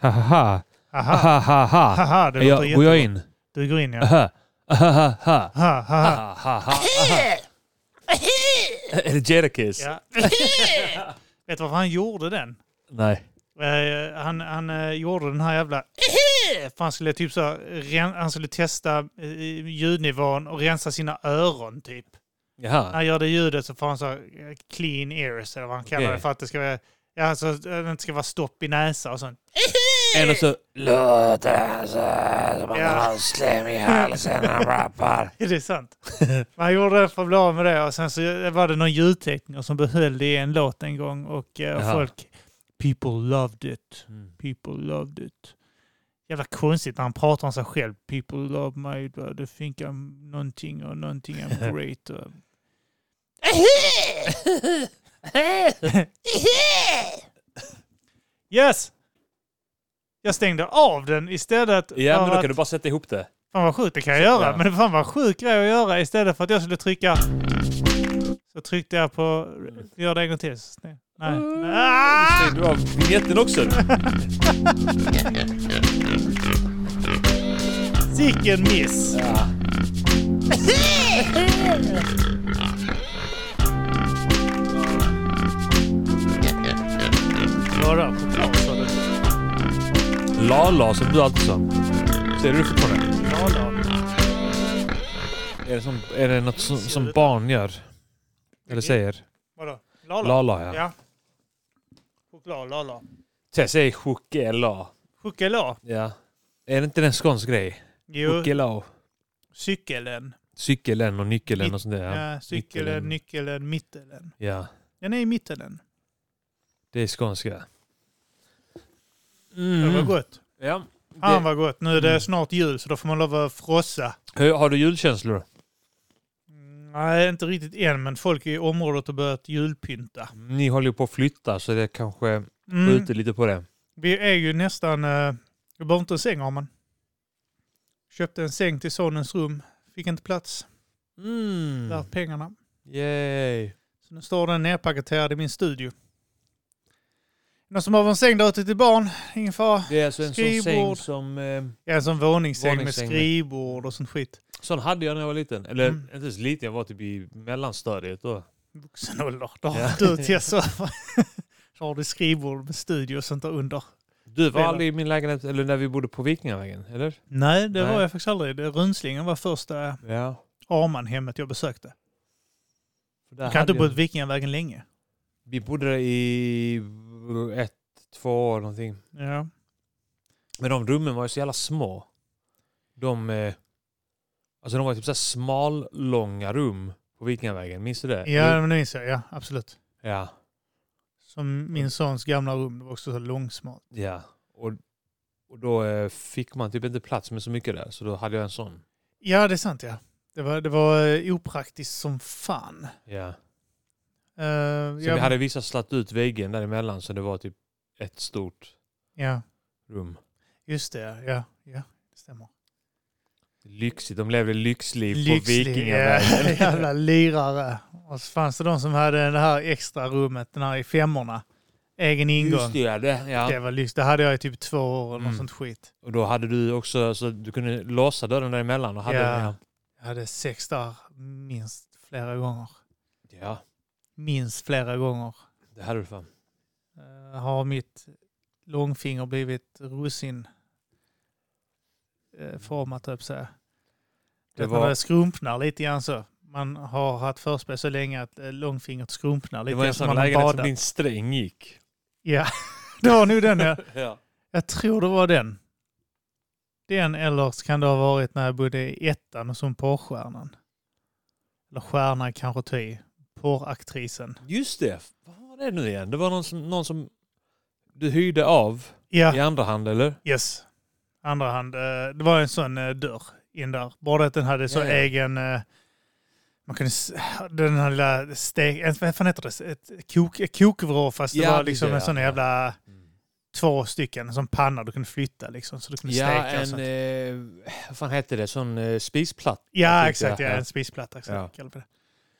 Ha ha ha. Aha, Ha ha ha. haha, det låter Jag, går jättebra. jag in? Du går in ja. Aha. Ha ha ha. Ha, ha, ha. Ha ha ha. Är det Jadakiss? Ja. Vet du varför han gjorde den? Nej. Eh, han han eh, gjorde den här jävla... För han skulle typ så här, ren, han skulle testa eh, ljudnivån och rensa sina öron typ. När Jaha. han gör det ljudet så får han så här, eh, clean ears eller vad han kallar det Okej. för att det ska vara... Ja, alltså, att det inte ska vara stopp i näsa och sånt. Eller så... Låt alltså som en Ja. halsslem i halsen när han rappar. Är det är sant? Man gjorde det för att bli av med det och sen så var det någon ljudtekniker som behöll det i en låt en gång och eh, Jaha. folk... People loved it. Mm. People loved it. Jävla konstigt när han pratar om sig själv. People love my... They think I'm någonting och någonting I'm great. och- yes! Jag stängde av den istället. Ja, för men då att- kan du bara sätta ihop det. Fan vad sjukt det kan jag göra. ja. Men fan vad sjuk grej att göra. Istället för att jag skulle trycka... Så tryckte jag på... Gör det en gång till. Nej. Nej. Ah! Du har vinjetten också. Sicken miss! Bara på Karlsson. Lala som du alltid sa. Ser du det fortfarande? Är det, som, är det något som, som barn gör? Eller säger? Vadå? Lala? Lala, ja. Ja. Choklad, lala. Jag säger chokela. Choklad? Ja. Är det inte en skånsk grej? Jo. Chokela. Cykeln. Cykeln och nyckeln och sånt där. Ja. Ja, cykeln, Mittelen. nyckeln, mittelen. ja. Den är i mittelen. Det är skånska. Det var Mm. gott. Ja. Fan Det, Mm. vad gott. Nu är det snart jul så då får man lov att frossa. Hur- har du julkänslor? Mm, Nej, inte riktigt än men folk i området har börjat julpynta. Ni håller ju på att flytta så det kanske Mm. skjuter lite på det. Vi är ju nästan... eh, Jag behöver inte en säng har man. Köpte en säng till sonens rum. Fick inte plats. Mm. Värt pengarna. Yay. Så nu står den nerpaketerad i min studio. Någon som behöver en säng där ute till barn? Ingen fara. Det är alltså en sån säng Skrivbord. som... Eh, Ja, en sån våningssäng med Våningssäng med- skrivbord och sånt skit. sån hade jag när jag var liten. Eller Mm. inte ens liten, jag var typ i mellanstadiet då. Vuxen ålder. Då har Ja. du till så. så har du skrivbord med studio och sånt där under. Du var Spela. aldrig i min lägenhet, eller när vi bodde på Vikingavägen, eller? Nej, det Nej. var jag faktiskt aldrig. Det- Rönslingen var första Ja. Armanhemmet jag besökte. För där Jag kan hade inte bo jag- på Vikingavägen länge. Vi bodde där i ett, två år någonting. Ja. Men de rummen var ju så jävla små. De, eh, alltså de var typ så här smallånga rum på Vikingavägen. Minns du det? ja, men det minns jag. Ja, absolut. Ja. Som min sons gamla rum. Det var också så långsmalt. ja. Och, och då eh, fick man typ inte plats med så mycket där. Så då hade jag en sån. Ja, det är sant ja. Det var, det var eh, opraktiskt som fan. Ja. Eh, Så jag- vi hade vissa slatt ut väggen däremellan så det var typ ett stort Ja, rum. just det. Ja, ja det stämmer. Lyxigt. De levde lyxliv på Lyxlig, Vikingavägen. ja, jävla lirare. Och så fanns det de som hade det här extra rummet, den här i femmorna. Egen ingång. Just det, ja, det, ja. Det var lyx. Det hade jag i typ två år eller något Mm. sånt skit. Och då hade du också, så du kunde låsa dörren däremellan och hade... Ja. Jag hade sex där minst flera gånger. ja. Minst flera gånger Det hade du fan. eh, har mitt långfinger blivit russin eh, format höll jag på att säga. Det Det var... var- När det skrumpnar lite grann så. Man har haft förspel så länge att eh, långfingret skrumpnar Det lite var en grann. som sån Man har lägenhet badat. som din sträng gick. Ja, det var nog den ja. Ja. Jag tror det var den. Den eller så kan det ha varit när jag bodde i ettan och som porrstjärnan. Eller stjärna kanske att ta i. Porraktrisen. Just det. Vad var det nu igen? Det var någon som, någon som du hyrde av Ja, i andra hand, eller? yes. Andra hand. eh, Det var en sån eh, dörr in där. Bara att den hade så Ja, ja. egen... eh, Man kunde... s- Den här lilla steg... eh, Vad fan heter det? Ett kok, ett kokvrå fast det Ja, var det liksom är det, en sån ja. jävla... Två stycken som panna du kunde flytta liksom. Så du kunde Ja, steka och en... sånt. Eh, vad fan hette det? Sån eh, spisplatta? Ja, typ, exakt. Ja, ja. en spisplatta. Exakt, Ja. kallar vi det.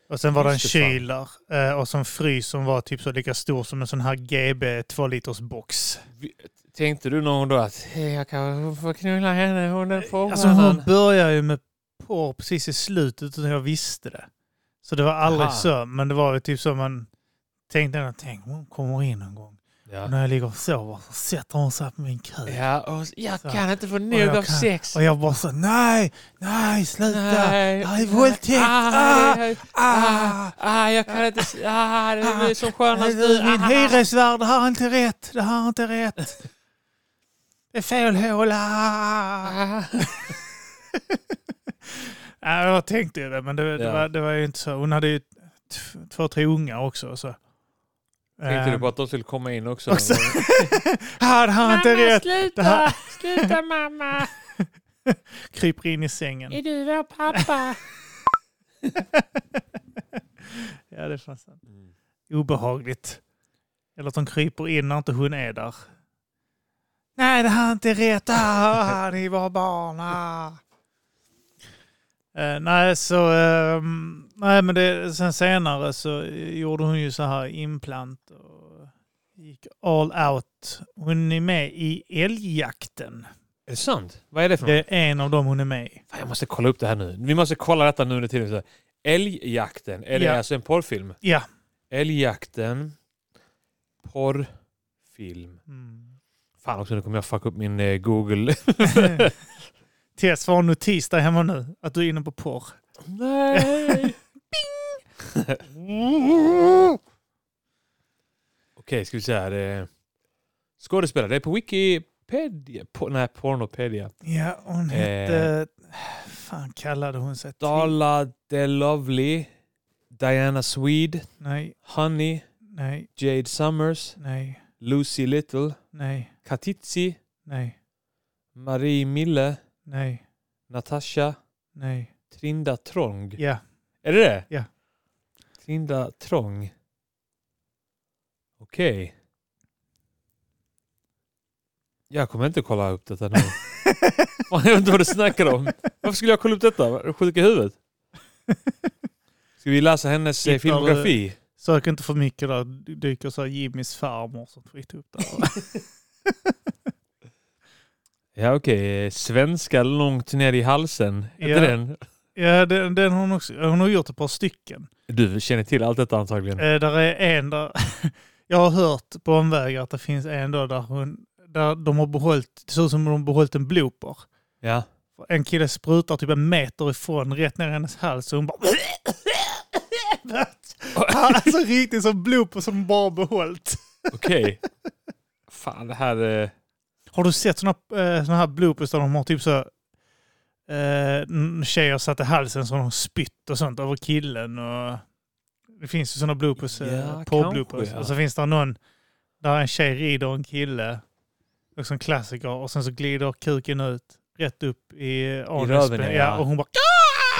Och sen var det en Just det, fan. kyl där. eh, Och så en frys som var typ så lika stor som en sån här GB 2 liters box. Vi- Tänkte du någon gång då att "Hej, jag kan få knulla henne, hon är på Alltså hon började ju med porr precis i slutet utan jag visste det. Så det var aldrig Aha. så. Men det var ju typ som man tänkte, tänk hon kommer in en gång. Och Ja. när jag ligger och sover så sätter hon sig på min kuk. Ja, och jag Så. kan inte få Och nog jag av kan- sex. Och jag bara så, nej, nej, sluta. Det här är våldtäkt. Ah, Ah, ah. ah, ah, jag kan inte... s- Ah, det är som Nej, skönast du, nu. min ah. hyresvärd har inte rätt. Det har inte rätt. Det är fel håla. Ah. Nej, jag tänkte ju det, men det, det, Ja. var, det var ju inte så. Hon hade ju t- två, tre unga också. Så. Tänkte du Ehm, på att de skulle komma in också? Och så- ah, det har inte rätt. Det här- sluta! Sluta mamma! Kryper in i sängen. Är du vår pappa? ja, det fanns sant. Mm. Obehagligt. Eller att de kryper in när inte hon är där. Nej, det här är inte rätt. Ah, ni var barn. Ah. Eh, nej, så... ehm, nej, men det, sen senare så gjorde hon ju så här implant och gick all out. Hon är med i Älgjakten. Är det sant? Vad är det för något? Det är en av dem hon är med i. Fan, jag måste kolla upp det här nu. Vi måste kolla detta nu under tiden. Så här, Älgjakten. Är det Ja. alltså en porrfilm? Ja. Älgjakten. Porrfilm. Mm. Fan också, nu kommer jag fucka upp min eh, Google. Tess, var en notis där hemma nu att du är inne på porr. Nej! Okej, ska vi se här. eh, Skådespelare. Det är på Wikipedia. På, nej, Pornopedia. Eh, Ja, hon hette... Eh, fan kallade hon sig? Till? Dala The Lovely. Diana Swede. Nej, Honey. nej, Jade Summers. nej, Lucy Little. nej, Katitzi. nej, Marie Mille, nej, Natasha, nej. Trinda Trång. Ja, Är det det? Ja. Trinda Trång. Okej. Jag kommer inte kolla upp detta nu. Fan, jag vet inte vad du snackar om. Varför skulle jag kolla upp detta? Är du sjuk i huvudet? Ska vi läsa hennes eh, Hittar du- filmografi? sök inte för mycket där. Det dyker så här Jimmys farmor som skit upp där. Ja okej. Eh, Svenska långt ner i halsen. Är Ja. inte den? ja, den, den har hon också. Hon har gjort ett par stycken. Du känner till allt detta antagligen. Eh, där är en där... jag har hört på omvägar att det finns en då där hon... Där de har behållit... Det ser ut som om de har behållit en blooper. Ja. En kille sprutar typ en meter ifrån rätt ner i hennes hals och hon bara... alltså riktigt som blooper som bara behållt. Okej. Fan det här... eh, Har du sett såna, eh, såna här bloopers där de har typ så... Eh, n- tjejer satte halsen så har de spytt och sånt över killen och... Det finns ju sådana bloopers, eh, Ja, porrbloopers. kanske, ja. Och så finns det någon där en tjej rider en kille. Också en klassiker. Och sen så glider kuken ut rätt upp i anusben. röven, ja. ja. Och hon bara...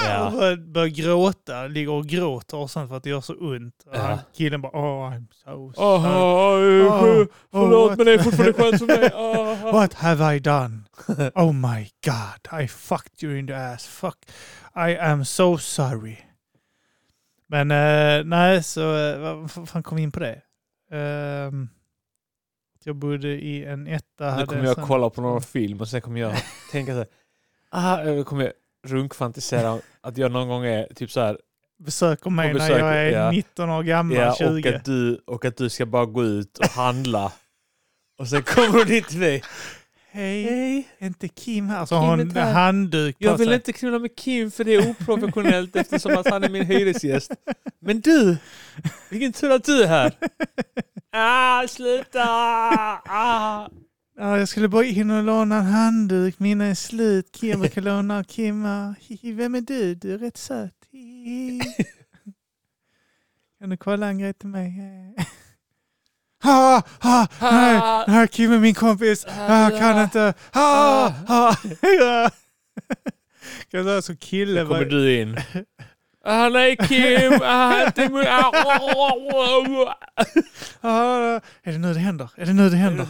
Ja. och börjar, börjar gråta, ligger och gråter och sånt för att det gör så ont. Och Ja. han, killen bara oh I'm so sorry. Aha, Oh, oh, what, förlåt men det är fortfarande skönt för mig. Ah. what have I done? Oh my god, I fucked you in the ass. Fuck, I am so sorry. Men eh, nej, så eh, vad vad fan kom vi in på det? Ehm, att jag bodde i en etta. Nu hade kommer en jag sån- kolla på någon film och sen kommer jag tänka så här. Ah, jag kommer jag runkfantisera om att jag någon gång är typ så här. Besöker mig Och besöker- när jag är ja. 19 år gammal, Ja, och, 20. att du, och att du ska bara gå ut och handla. Och sen kommer hon dit till mig. Hej, Hej, är inte Kim här? Så Kim har är hon här. handduk på jag vill sig. inte knulla med Kim för det är oprofessionellt eftersom att han är min hyresgäst. Men du, vilken tur att du är här. Ah, sluta! Ah. Ja, jag skulle bara in och låna en handduk. Mina är slut. Kim kan låna Kimma. Hihi, Vem är du? Du är rätt söt. Hihi. Kan du kolla en grej till mig? Ha, ha, nej, nej, Kim är min kompis. Ah, Jag kan inte. Ha, ha. Ja. Kan jag säga så kille? Då kommer var- du in. Ah, nej Kim! Ah, inte mun- ah, oh, oh, oh, oh. Ah, Är det nu det händer? Är det nu det händer?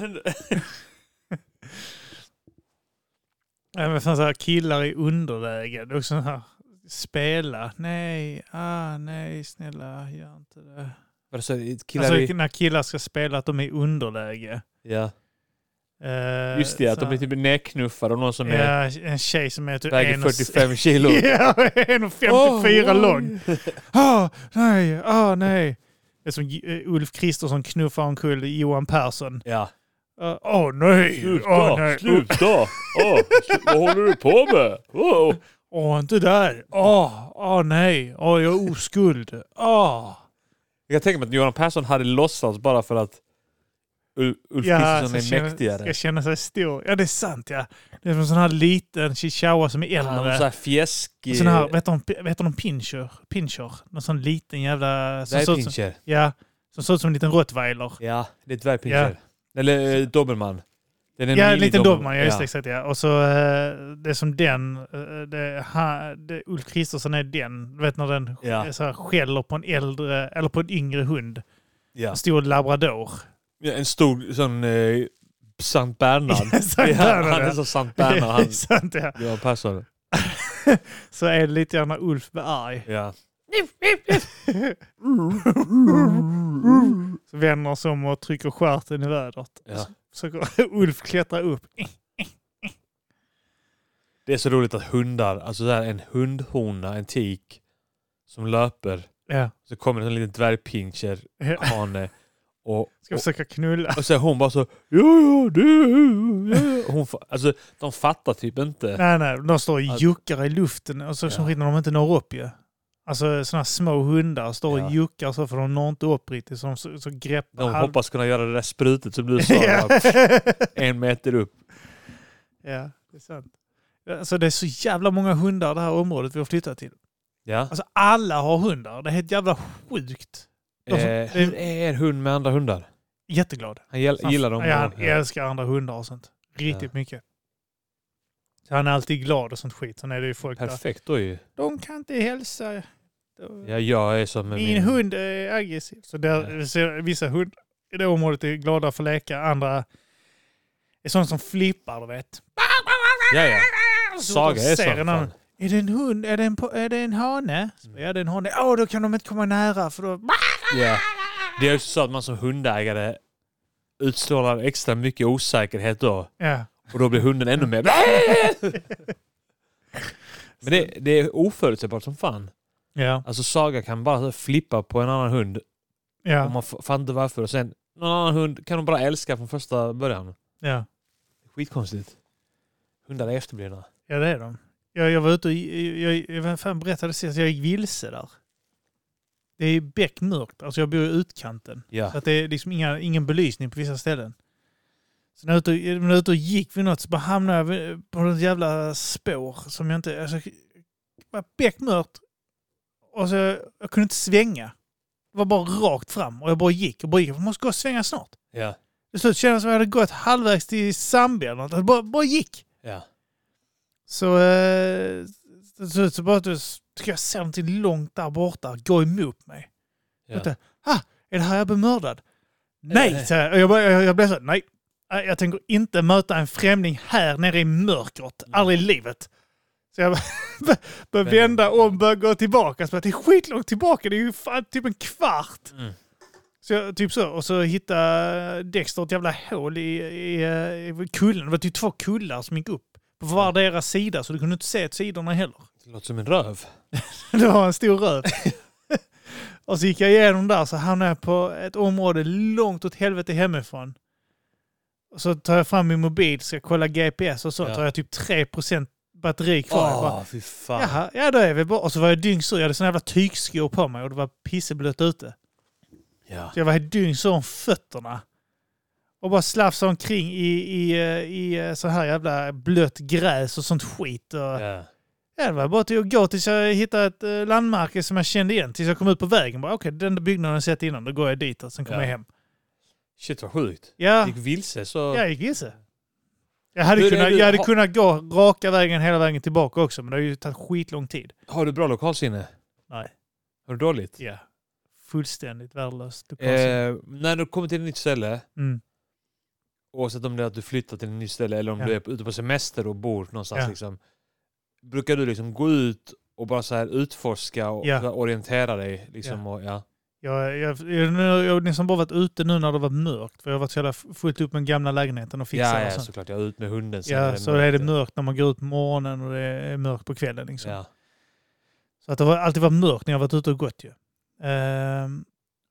Nej, men fan, så här, killar i underläge. Det är också så här spela. Nej, ah, nej, snälla, gör inte det. Vadå, så killar Alltså vi... när killar ska spela att de är i underläge. Ja. Eh, Just det, att så- de blir typ nedknuffade av någon som är, Ja, en tjej som är typ väger en och- 45 kilo. Ja, 1,54 lång. Ah, nej, ah, nej. Det är som eh, Ulf Kristersson knuffar omkull Johan Persson. Ja. Ah, Åh nej, åh nej, sluta! vad håller du på med? åh inte där, åh, åh nej, åh jag är oskuld, Ah. åh. Jag kan tänka mig att Göran Persson hade låtsats bara för att Ul- Ulf Kristersson ska är känna- mäktigare. Ska känna sig stor. Ja, det är sant ja. Det är som en sån här liten chihuahua som är Han är äldre. så här fjäskig. Sån här, vad heter de, vad heter de pincher? Pincher? Någon sån liten jävla... Som ser ut som, Dvärgpinscher. ja, som ser ut som en liten rottweiler. Ja, det är dvärgpinscher. Eller eh, dobermann. Den är Ja, en mini liten dobermann. dobermann. Ja, just det, exakt. Ja. Och så eh, det är som den, eh, det, ha, det, Ulf Kristersson är den. Du vet när den Ja. är så här, skäller på en äldre, eller på en yngre hund. Ja. En stor labrador. Ja, en stor sån eh, Sankt Bernhard. Ja, Sankt Ja, Bernhard, han är ja. som Sankt Bernhard. Han, Sant, ja. Göran Persson. Så är det lite grann när Ulf blir arg. Ja. Så vänder sig om och trycker stjärten i vädret. Ja. Så går Ulf klättrar upp. Det är så roligt att hundar, alltså där en hundhona, en tik, som löper. Ja. Så kommer en liten dvärgpinscher, hane. Och, Ska och, försöka knulla. och så är hon bara så... Jo, jo, du, ja." hon, fa- alltså, de fattar typ inte. Nej, nej. De står och Att- juckar i luften och så som Ja. riktigt när de inte når upp ju. Alltså sådana små hundar står och Ja. juckar så för de når inte upp riktigt. Så de så, så greppar De halv- hoppas kunna göra det där sprutet som du sa. ja. bara, En meter upp. ja, det är sant. Alltså det är så jävla många hundar i det här området vi har flyttat till. Ja. Alltså alla har hundar. Det är helt jävla sjukt. de som- Eh, hur är en hund med andra hundar? Jätteglad. Han gäll- gillar dem. Alltså, Ja, han Ja, ja. älskar andra hundar och sånt. Riktigt Ja. mycket. Så han är alltid glad och sånt skit. Sen är det ju folk där. Perfekt då ju. De kan inte hälsa. De- Ja, jag är som Min, min, hund är aggressiv. Så där, så vissa hundar i det området är glada för att leka. Andra är sådana som flippar, du vet. Ja, ja. Så Saga är ser en sån. annan- fan. Mm. Är det en hund? Är det en, po- är det en hane? Så, Ja, det är en hane. Åh, då kan de inte komma nära för då... Ja. Det är också så att man som hundägare utstrålar extra mycket osäkerhet då. Ja. Och då blir hunden ännu mer... Men det, det är oförutsägbart som fan. Ja. Alltså Saga kan bara flippa på en annan hund och Ja. man f- fattar inte varför. Och sen någon annan hund kan de bara älska från första början. ja. Skitkonstigt. Hundar är efterblivna. Ja, det är de. Jag, jag var ute och... Jag, jag, jag, vem fan berättade sist? Jag gick vilse där. Det är beckmörkt. Alltså jag bor i utkanten. Ja. Så att det är liksom inga, ingen belysning på vissa ställen. Så när jag ute- när jag var ute och gick vid något så bara hamnade jag vid- på något jävla spår som jag inte... Alltså, det var beckmört. Och så jag kunde inte svänga. Det var bara rakt fram och jag bara gick och bara gick. Jag måste gå och svänga snart. Ja. Till slut kändes det som att jag hade gått halvvägs till Zambia eller något. Jag bara, bara gick. Ja. Så eh, till slut så bara att jag- ska jag se någonting långt där borta gå emot mig. ja. Vänta. Ha, är det här jag blir mördad? Nej, säger jag. Och Jag, bara- jag, jag blev så, nej. Nej, Jag tänker inte möta en främling här nere i mörkret. Aldrig i livet. Så jag bara- började vända om, började gå tillbaka. Så bara, det är skitlångt tillbaka, det är ju fan typ en kvart. Mm. Så jag, typ så, och så hittade Dexter ett jävla hål i, i, i kullen. Det var typ två kullar som gick upp på vardera sida, så du kunde inte se åt sidorna heller. Det låter som en röv. Det var en stor röv. och så gick jag igenom där så hamnade jag på ett område långt åt helvete hemifrån. Och så tar jag fram min mobil, ska kolla GPS och så Ja. tar jag typ 3% batteri kvar. Jag bara, Åh, fy fan. Jaha, ja då är vi bra. Och så var jag dyngsur, jag hade såna jävla tygskor på mig och det var pisseblött ute. Ja. Så jag var helt dyngsur om fötterna. Och bara slafsade omkring i, i, eh, i eh, så här jävla blött gräs och sånt skit. Och, Ja. Ja, det var bara till att gå tills jag hittade ett eh, landmärke som jag kände igen. Tills jag kom ut på vägen. Bara, Okej, den där byggnaden har jag sett innan. Då går jag dit och sen kommer Ja. jag hem. Shit vad sjukt. Ja, Gick vilse så... jag gick vilse. Jag hade, Hur är kunnat, du- jag hade har- kunnat gå raka vägen hela vägen tillbaka också. Men det har ju tagit skitlång tid. Har du bra lokalsinne? Nej. Har du dåligt? Ja. Fullständigt värdelöst. lokalsinne. Eh, när du kommer till ett nytt ställe, Mm. oavsett om det är att du flyttar till ett nytt ställe eller om Ja. du är ute på semester och bor någonstans, Ja. liksom, brukar du liksom gå ut och bara så här utforska och Ja. så här orientera dig. Liksom, Och, ja. Jag, jag, jag, nu har jag har liksom bara varit ute nu när det var mörkt. För jag har varit så jävla fullt upp med den gamla lägenheten och fixar ja, ja, och sånt. såklart. Jag är ut med hunden sen. när Ja, så är det ja. mörkt när man går ut på morgonen och det är mörkt på kvällen. Liksom. Ja. Så att det har alltid varit mörkt när jag varit ute och gått ju. Ehm,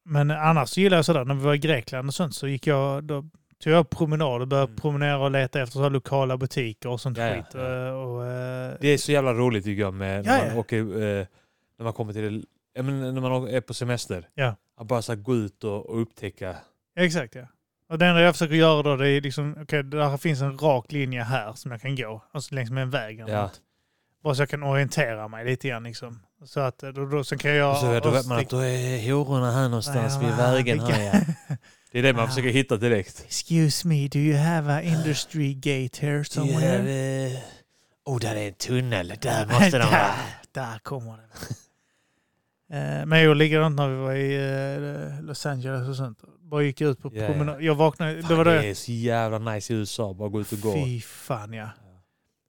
men annars så gillar jag sådär, när vi var i Grekland och sånt så gick jag, då tog jag promenad och började Mm. promenera och leta efter så här lokala butiker och sånt Ja, ja, skit. ja. Eh, Och, eh, Det är så jävla roligt tycker jag med Ja, när, man ja. åker, eh, när man kommer till ja, men när man å- är på semester. Ja. Att bara så här, gå ut och, och upptäcka. Exakt ja. Och det enda jag försöker göra då det är liksom, okej, där finns en rak linje här som jag kan gå. Alltså längs med en väg. eller Ja. något. Bara så jag kan orientera mig lite grann liksom. Så att eh, då, då sen kan jag... Och så, då vet man och- att då är hororna här någonstans vid vägen. Här, ja. Det är det man försöker hitta direkt. Excuse me, do you have a industry gate here somewhere? oh, där är en tunnel. Där där, där kommer den. Eh, Men jag likadant när vi var i eh, Los Angeles och sånt. Bara gick ut på Ja, ja. promenad. Jag vaknade. det Fan, var det då är så jävla nice i USA. Bara gå ut och gå. Fy fan ja.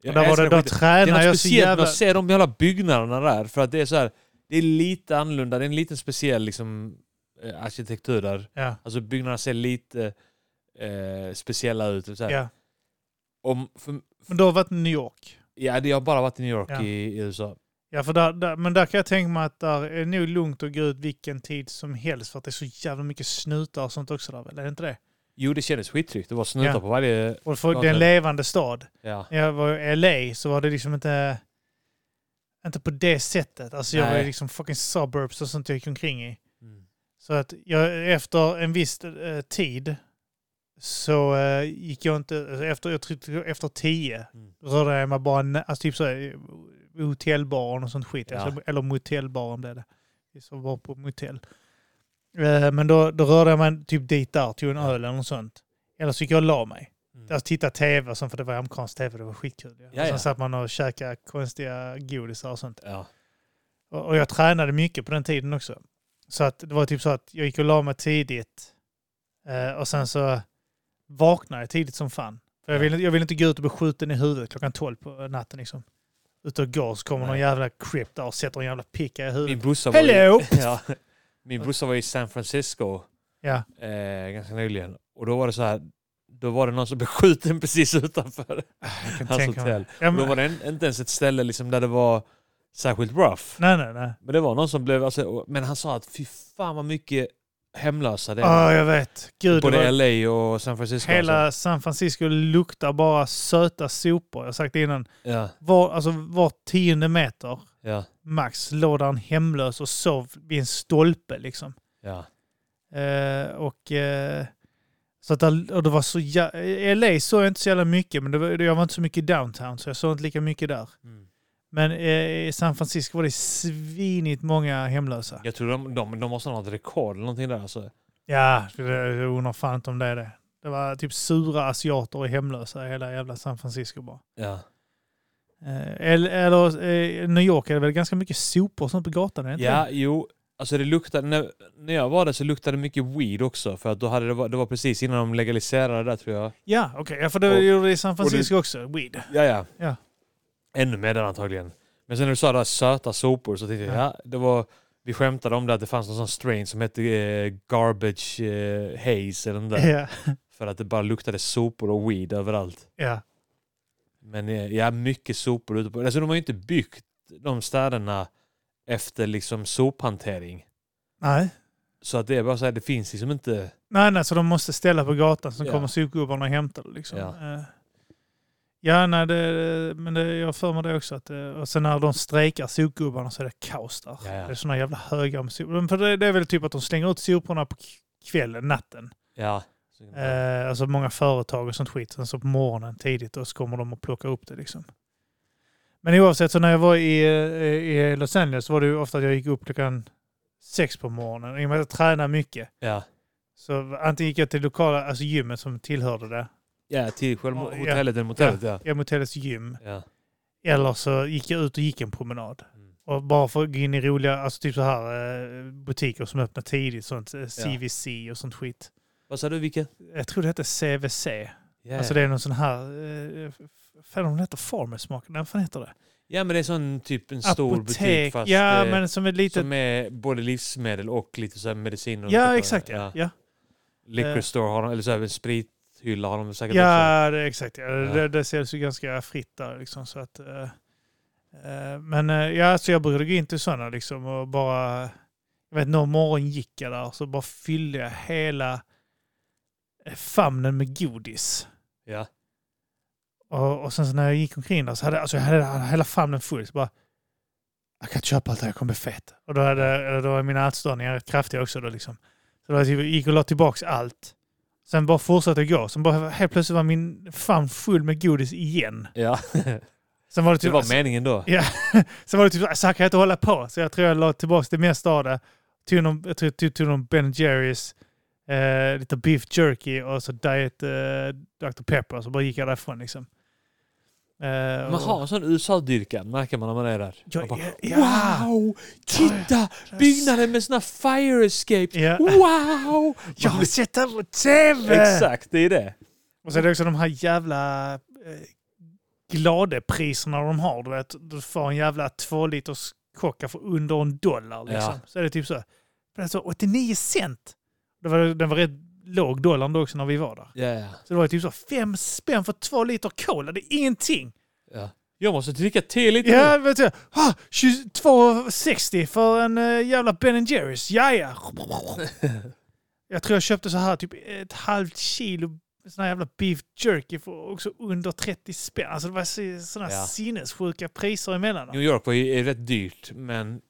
Jag Och där var älskar det, då skiten. det är något tränade jag så speciellt med jävla... att se de jävla byggnaderna där. För att det är så här, det är lite annorlunda. Det är en liten speciell liksom, eh, arkitektur där. Ja, Alltså byggnaderna ser lite eh, speciella ut. och Så här. ja. Om, för, Men då har jag varit i New York. ja, det- jag har bara varit i New York Ja. i, i USA. Ja, för där, där, men där kan jag tänka mig att där är nog lugnt att gå ut vilken tid som helst för att det är så jävla mycket snutar och sånt också där väl? Är det inte det? Jo, det kändes skittryggt. Det var snutar Ja. på varje... Och för, Ja, det är det- en levande stad. Ja. När jag var i LA så var det liksom inte... Inte på det sättet. Alltså jag var Nej. ju liksom fucking suburbs och sånt jag gick omkring i. Så att jag, efter en viss eh, tid så eh, gick jag inte... alltså Efter, jag tryckte, efter tio Mm. rörde jag mig bara... nä- Alltså typ så här, eh, hotellbaren och sånt skit. Ja. Alltså, eller motellbaren blev det. Vi så var på motell. Eh, men då, då rörde jag mig typ dit där, tog en öl eller något sånt. Eller så gick jag och la mig. Mm. Alltså titta tv och sånt, för det var amerikansk tv, det var skitkul. Ja. Ja, och sen ja. satt man och käkade konstiga godisar och sånt. Ja. Och, och jag tränade mycket på den tiden också. Så att det var typ så att jag gick och la mig tidigt eh, och sen så vaknade jag tidigt som fan. För jag ville, jag ville inte gå ut och bli skjuten i huvudet klockan 12 på natten liksom. Ute och går så kommer någon Nej. jävla creep där och sätter en jävla picka i Min huvudet. brorsa var eh, Hello! I, ja. Min brorsa var i San Francisco Ja. eh, ganska nyligen. Och då var det så här... Då var det någon som blev skjuten precis utanför Jag kan hans tänka mig. hotell. Ja, Och då men, var det en, inte ens ett ställe liksom där det var särskilt rough. nej, nej, nej. Men det var någon som blev... Alltså, och- men han sa att fy fan vad mycket hemlösa det Ah, Ja, jag vet. Gud, det Både var- LA och San Francisco. alltså. Hela San Francisco luktar bara söta sopor. Jag har sagt det innan. Ja, Var, alltså, var tionde meter ja, max låg där en hemlös och sov vid en stolpe. Liksom. ja. Eh, och, eh, så att där, och det var så jä- i LA såg jag inte så jävla mycket, men det var, jag var inte så mycket i downtown så jag såg inte lika mycket där. Men eh, i San Francisco var det svinigt många hemlösa. Jag tror de, de, de måste ha något rekord eller någonting där. Alltså. Ja, det- jag undrar fan inte om det är det. Det var typ sura asiater och hemlösa i hela jävla San Francisco bara. Ja. Eh, Eller, eller eh, New York är det väl ganska mycket sopor och sånt på gatan? Är det inte ja, jo. Alltså det luktade, när, när jag var där så luktade det mycket weed också. För att då hade det, var- det var precis innan de legaliserade det där tror jag. det? ja okej. Ja, för det Och- gjorde det i San det- Francisco också. Weed. Ja, ja. Ja. Ännu mer där antagligen. Men sen när du sa det där söta sopor så tänkte jag, ja, det var... Vi skämtade om det att det fanns någon sån strain som hette eh, Garbage eh, Haze eller den där. Ja. För att det bara luktade sopor och weed överallt. ja. Men eh, ja, mycket sopor ute på... Alltså de har ju inte byggt de städerna efter liksom sophantering. Nej. Så att det är bara så här, det finns liksom inte... nej, nej, så de måste ställa på gatan så Ja. kommer sopgubbarna och hämtar det. Liksom. Ja. Eh, ja, nej, det, men det, jag har för mig det också. Att, det- och sen när de strejkar sopgubbarna så är det kaos där. Ja, ja. Det är såna jävla högar med sopor. Men För det, det är väl typ att de slänger ut soporna på k- kvällen, natten. Ja. Eh, alltså många företag och sånt skit. Sen så på morgonen tidigt och så kommer de och plockar upp det liksom. Men oavsett, så när jag var i, eh, i Los Angeles så var det ju ofta att jag gick upp klockan sex på morgonen. I och med att jag tränade mycket. Ja. Så antingen gick jag till lokala, alltså gymmet som tillhörde det. Ja, till själva Ja. hotellet eller motellet, ja. Jag hotellets gym. Ja. Eller så gick jag ut och gick en promenad. Mm. Och bara för att gå in i roliga, alltså typ så här eh, butiker som öppnar tidigt. Sånt eh, CVC och sånt skit. Vad sa du, vilken? Jag tror det hette CVC. Ja, Alltså ja. det är någon sån här, eh, fan om det heter farmers market, nej vad fan heter det? Ja, men det är sån typ en stor butik fast ja, eh, men som ett litet... som är både livsmedel och lite så här mediciner. och Ja, typ, exakt. Ja, ja. Liquor Eh. store har de, eller så här, en sprithylla har de säkert också. ja det, är exakt. Ja. Ja. Det, det säljs ju ganska fritt där. Liksom, så att, eh, eh, men eh, ja, så jag brukade gå in till sådana liksom, och bara... Jag vet, någon morgon gick jag där och så bara fyllde jag hela eh, famnen med godis. Ja. Och, och sen så när jag gick omkring där så hade alltså, jag hade, hade hela famnen full. Så bara, jag kan inte köpa allt det här, jag kommer bli fet. Och då, hade, eller då var mina ätstörningar rätt kraftiga också. Då, liksom. Så då jag gick och la tillbaka allt. Sen bara fortsatte jag gå. Sen bara helt plötsligt var min famn full med godis igen. ja. Sen var det Det typ, var meningen då. sen var det typ så här kan jag inte hålla på. Så jag tror jag la tillbaka det mesta av det. Tog någon, jag tror jag tog, tog någon Ben Jerrys, eh, lite beef jerky och så diet eh, Dr. Pepper. Så bara gick jag därifrån liksom. Eh, Man och- har en sån USA-dyrkan märker man när man är där. Ja, Man bara, ja, ja. Wow! Titta! Byggnaden med såna fire escapes! Ja. Wow! Oh, Jag har sett det på tv! Exakt, det är det. Och så är det också de här jävla eh, gladepriserna de har. Du vet, du får en jävla två liters kocka för under en dollar. Liksom. Ja. Så är det typ så. Men det står 89 cent! Det var, den var rätt låg dollarn då också när vi var där. Ja, ja. Så det var typ så fem spänn för två liter cola. Det är ingenting! Ja. Jag måste dricka te lite Ja, vet du. Ah, 22,60 för en eh, jävla Ben Jerrys. Ja, ja. Jag tror jag köpte så här typ ett halvt kilo sån här jävla beef jerky för också under 30 spänn. Alltså det var sådana Ja. sinnessjuka priser emellan. nu. New York var ju är rätt dyrt, men...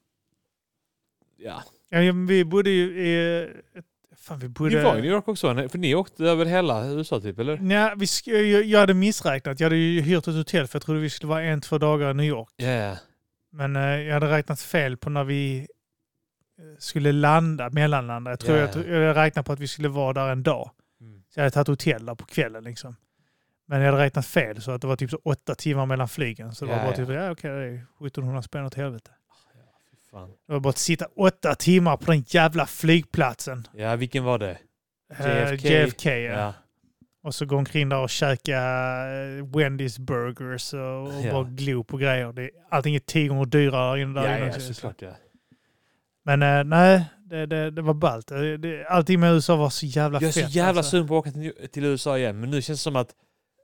Ja. Ja, ja, men vi bodde ju i... eh, ett- Fan, vi bodde... Ni var i New York också, eller? för ni åkte över hela USA typ, eller? Nej, vi sk- jag, jag hade missräknat. Jag hade ju hyrt ett hotell för jag trodde vi skulle vara en, två dagar i New York. Ja, ja. Men eh, jag hade räknat fel på när vi eh, skulle landa, mellanlanda. Jag tror Ja, jag, tro- jag räknade på att vi skulle vara där en dag. Mm. Så jag hade tagit hotell där på kvällen liksom. Men jag hade räknat fel så att det var typ så åtta timmar mellan flygen. Så det Ja, var bara ja. typ, ja okej, det är 1700 spänn åt helvete. Fan. Det var bara att sitta åtta timmar på den jävla flygplatsen. Ja, vilken var det? Eh, JFK. JFK ja. Och så gå omkring där och käka eh, Wendy's burgers och, och Ja. bara glo på grejer. Det, är- allting är tio gånger dyrare inne där Ja, ja, inne ja också. såklart ja. Men eh, nej, det, det, det var ballt. Det, det, allting med USA var så jävla Jag är fett. så jävla alltså. sugen på att åka till- till USA igen, men nu känns det som att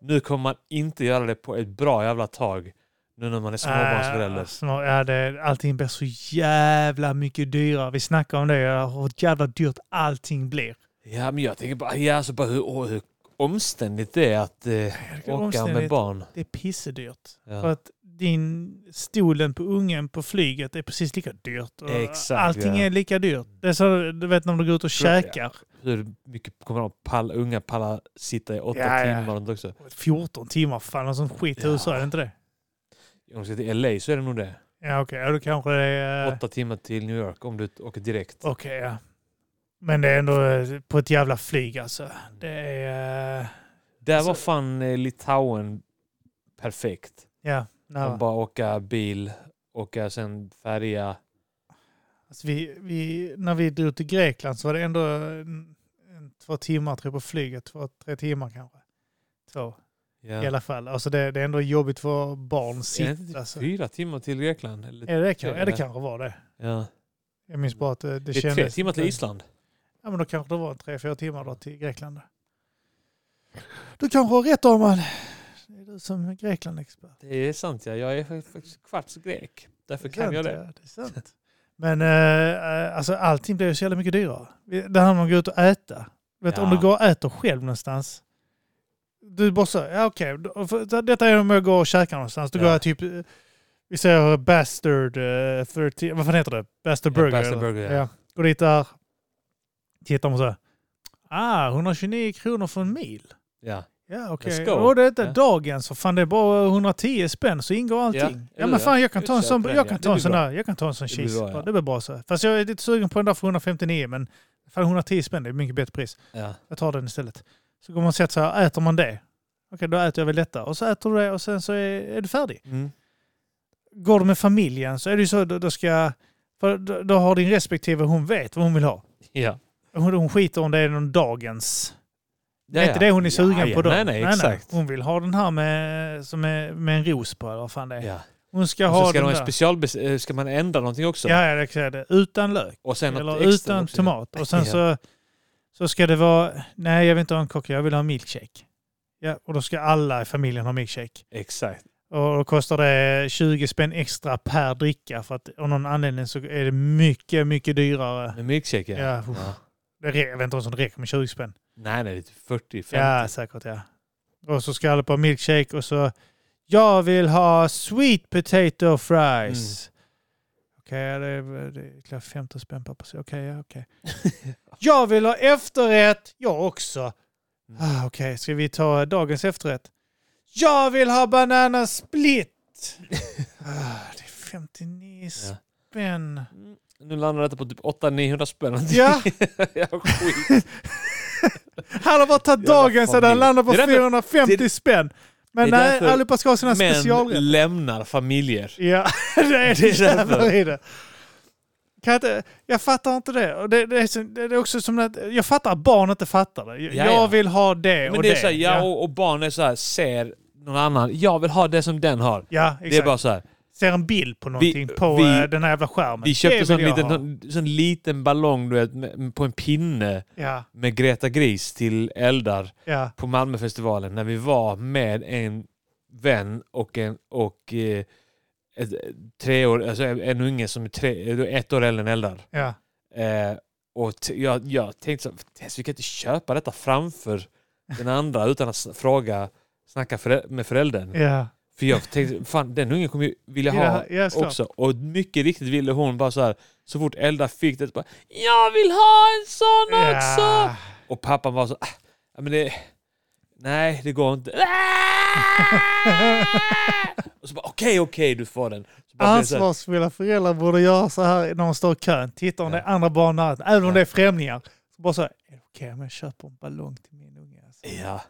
nu kommer man inte göra det på ett bra jävla tag. Nu när man är Äh, småbarnsförälder. snor- ja, det, allting blir så jävla mycket dyrare. Vi snackar om det, eh, hur jävla dyrt allting blir. Ja, men jag tänker bara, ja, alltså bara hur, åh, hur omständigt det är att eh, är åka med omständigt. barn. Det är pissedyrt. För Ja. att din stolen på ungen på flyget är precis lika dyrt. Och Exakt, allting ja. är lika dyrt. Det är så, du vet när du går ut och ja. käkar. Hur mycket kommer de pall, unga palla sitta i åtta Ja, ja. timmar och sånt också? 14 timmar, fan och sån skit i Ja. USA, är det inte det? Om du ska till LA så är det nog det. Ja okej, ja, då kanske det är... eh, Åtta timmar till New York om du åker direkt. Okej, ja. Men det är ändå eh, på ett jävla flyg alltså. Det är... eh, Där var alltså- fan eh, Litauen perfekt. Ja, nära. Man bara åka bil, åka sen färja. Alltså, vi, vi, när vi drog till Grekland så var det ändå en, en, två timmar tror jag på flyget. Två, tre timmar kanske. Två Ja. i alla fall. Alltså det, det är ändå jobbigt för barn att Är det inte sitta. typ Alltså. fyra timmar till Grekland? Eller? Är det, kan, är det Ja. kanske var det. Ja. Jag minns bara att eh, det, det, Det är kändes... tre timmar till lite- Island. Ja men då kanske det var tre, fyra timmar då till Grekland. Du kanske har rätt Arman. Det är du som är Grekland-expert. Det är sant ja, jag är faktiskt kvarts grek. Därför kan sant, jag det. Ja, det är sant. Men eh, alltså, allting blir ju så jävla mycket dyrare. Det handlar om att gå ut och äta. Vet, du, Om Ja. du går och äter själv någonstans. Du bara så, ja okej, okay. detta är om jag går och käkar någonstans. Då Ja. går jag typ, eh, vi säger Bastard eh, 30, vad fan heter det? Bastard Ja, Burger? Bastard eller? Burger, ja. Går dit där, tittar man så här. Ah, 129 kronor för en mil. Ja. Ja, okej. Let's go. Och det är inte Ja. dagens, för fan det är bara 110 spänn så ingår Ja, allting. Ja, eller hur? men fan jag kan ta en Utköp sån, den, jag ja. kan Det ta en blir sån bra. där, jag kan ta en sån Det blir cheese. bra, ja. Det blir bra så. Fast jag är lite sugen på den där för 159 men fan 110 spänn det är mycket bättre pris. ja. Jag tar den istället. Så går man och sätter sig här, äter man det. Okej, då äter jag väl detta. Och så äter du det och sen så är, är du färdig. Mm. Går du med familjen så är det ju så, då, då ska... För då, då har din respektive, hon vet vad hon vill ha. ja. Hon, hon skiter om det är någon dagens Det det är inte det hon är sugen ja, på då. Nej, nej, exakt. Hon vill ha den här med, som är, med en ros på eller vad fan det är. Ja. Hon Hon ska Och ha så ska, den de där. special, eh, ska man ändra någonting också? Ja, ja, det kan jag det. Utan lök. Och sen något Eller extra utan också. tomat. Och sen Ja. så, så ska det vara, nej jag vill inte ha en kocka, jag vill ha en milkshake. Ja, och då ska alla i familjen ha milkshake. Exakt. Och då kostar det 20 spänn extra per dricka för att av någon anledning så är det mycket, mycket dyrare. Med milkshake ja. Ja, uff. Det rä- jag vet inte ens om det räcker med 20 spänn. Nej, nej, det är typ 40-50. Ja, säkert ja. Och så ska alla på milkshake och så jag vill ha sweet potato fries. Mm. Okej, ja, det, är- det är klart 15 spänn per person. Okej, ja, okej. jag vill ha efterrätt, jag också. Mm. Ah, okej, ska vi ta dagens efterrätt? Jag vill ha banana split. ah, det är 59 Ja. spänn. Mm. Nu landar detta på typ 800-900 spänn. Ja, ja, skit. han har bara tagit Jävla dagen så familj. den landar på Det är därför- 450 det- spänn. Men det är nej, därför allihopa ska ha sina specialrätter. Män lämnar familjer. Ja, det är Det det är därför. jävlar i det. Kan jag, inte, jag fattar inte det. Och det, det, är så, det är också som att jag fattar att barn inte fattar det. Jag, Ja, jag ja. vill ha det Men Eh, och det det. är så här, ja, och, och barn är så här, ser någon annan. Jag vill ha det som den har. ja exakt. Det är bara så här. Ser en bild på någonting på vi- eh, den här jävla skärmen. Vi köpte Det sån vill jag liten, ha. sån, sån liten ballong du vet, med, på en pinne Ja, med Greta Gris till Eldar ja, på Malmöfestivalen när vi var med en vän och en och eh, ett, tre år, alltså en, en unge som är tre, eh, ett år äldre än Eldar. ja. Eh, och t- jag, jag tänkte så här, "Tess, vi kan inte köpa detta framför den andra utan att s- fråga, snacka förä- med föräldern. ja. För jag tänkte, fan den ungen kommer ju vilja I det ha här- ja, såklart. också. Och mycket riktigt ville hon bara så här, så fort Elda fick det, bara Jag vill ha en sån också! Ja. Och pappan var så, "Ah, ja, men det, nej det går inte. och så bara okej, okej du får den. Så bara blev det så här, Ansvarsfulla föräldrar borde göra så här när de står i kön. Tittar om Ja. det är andra barn där, även om Ja. det är främlingar. Så bara så här, är det okej om jag köper en ballong till min unge? Alltså. Ja,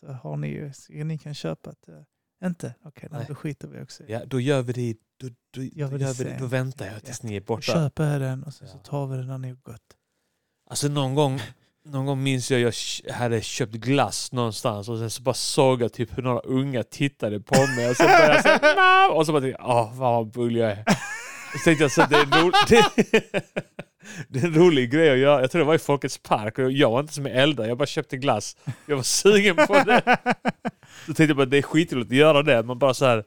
så har ni ju, så ni kan köpa att eh, inte, okej, okay, Nej. då skiter vi också i det. ja, då gör vi det, då, då, Gör vi då, det gör vi det, då sen. väntar jag tills ni är borta. Köper jag den och sen så Ja. tar vi den när ni har gått. Alltså någon gång, någon gång minns jag jag k- hade köpt glass någonstans och sen så bara såg jag typ hur några unga tittade på mig och så började jag säga "Mam!" och så bara tänkte jag åh fan vad bull jag är. Och så tänkte jag så att det är, en ro- det, det är en rolig grej att göra. Jag tror det var i Folkets park och jag var inte som eldad, jag bara köpte glass. Jag var sugen på det. Så tänkte jag bara det är skitroligt att göra det. Man bara så här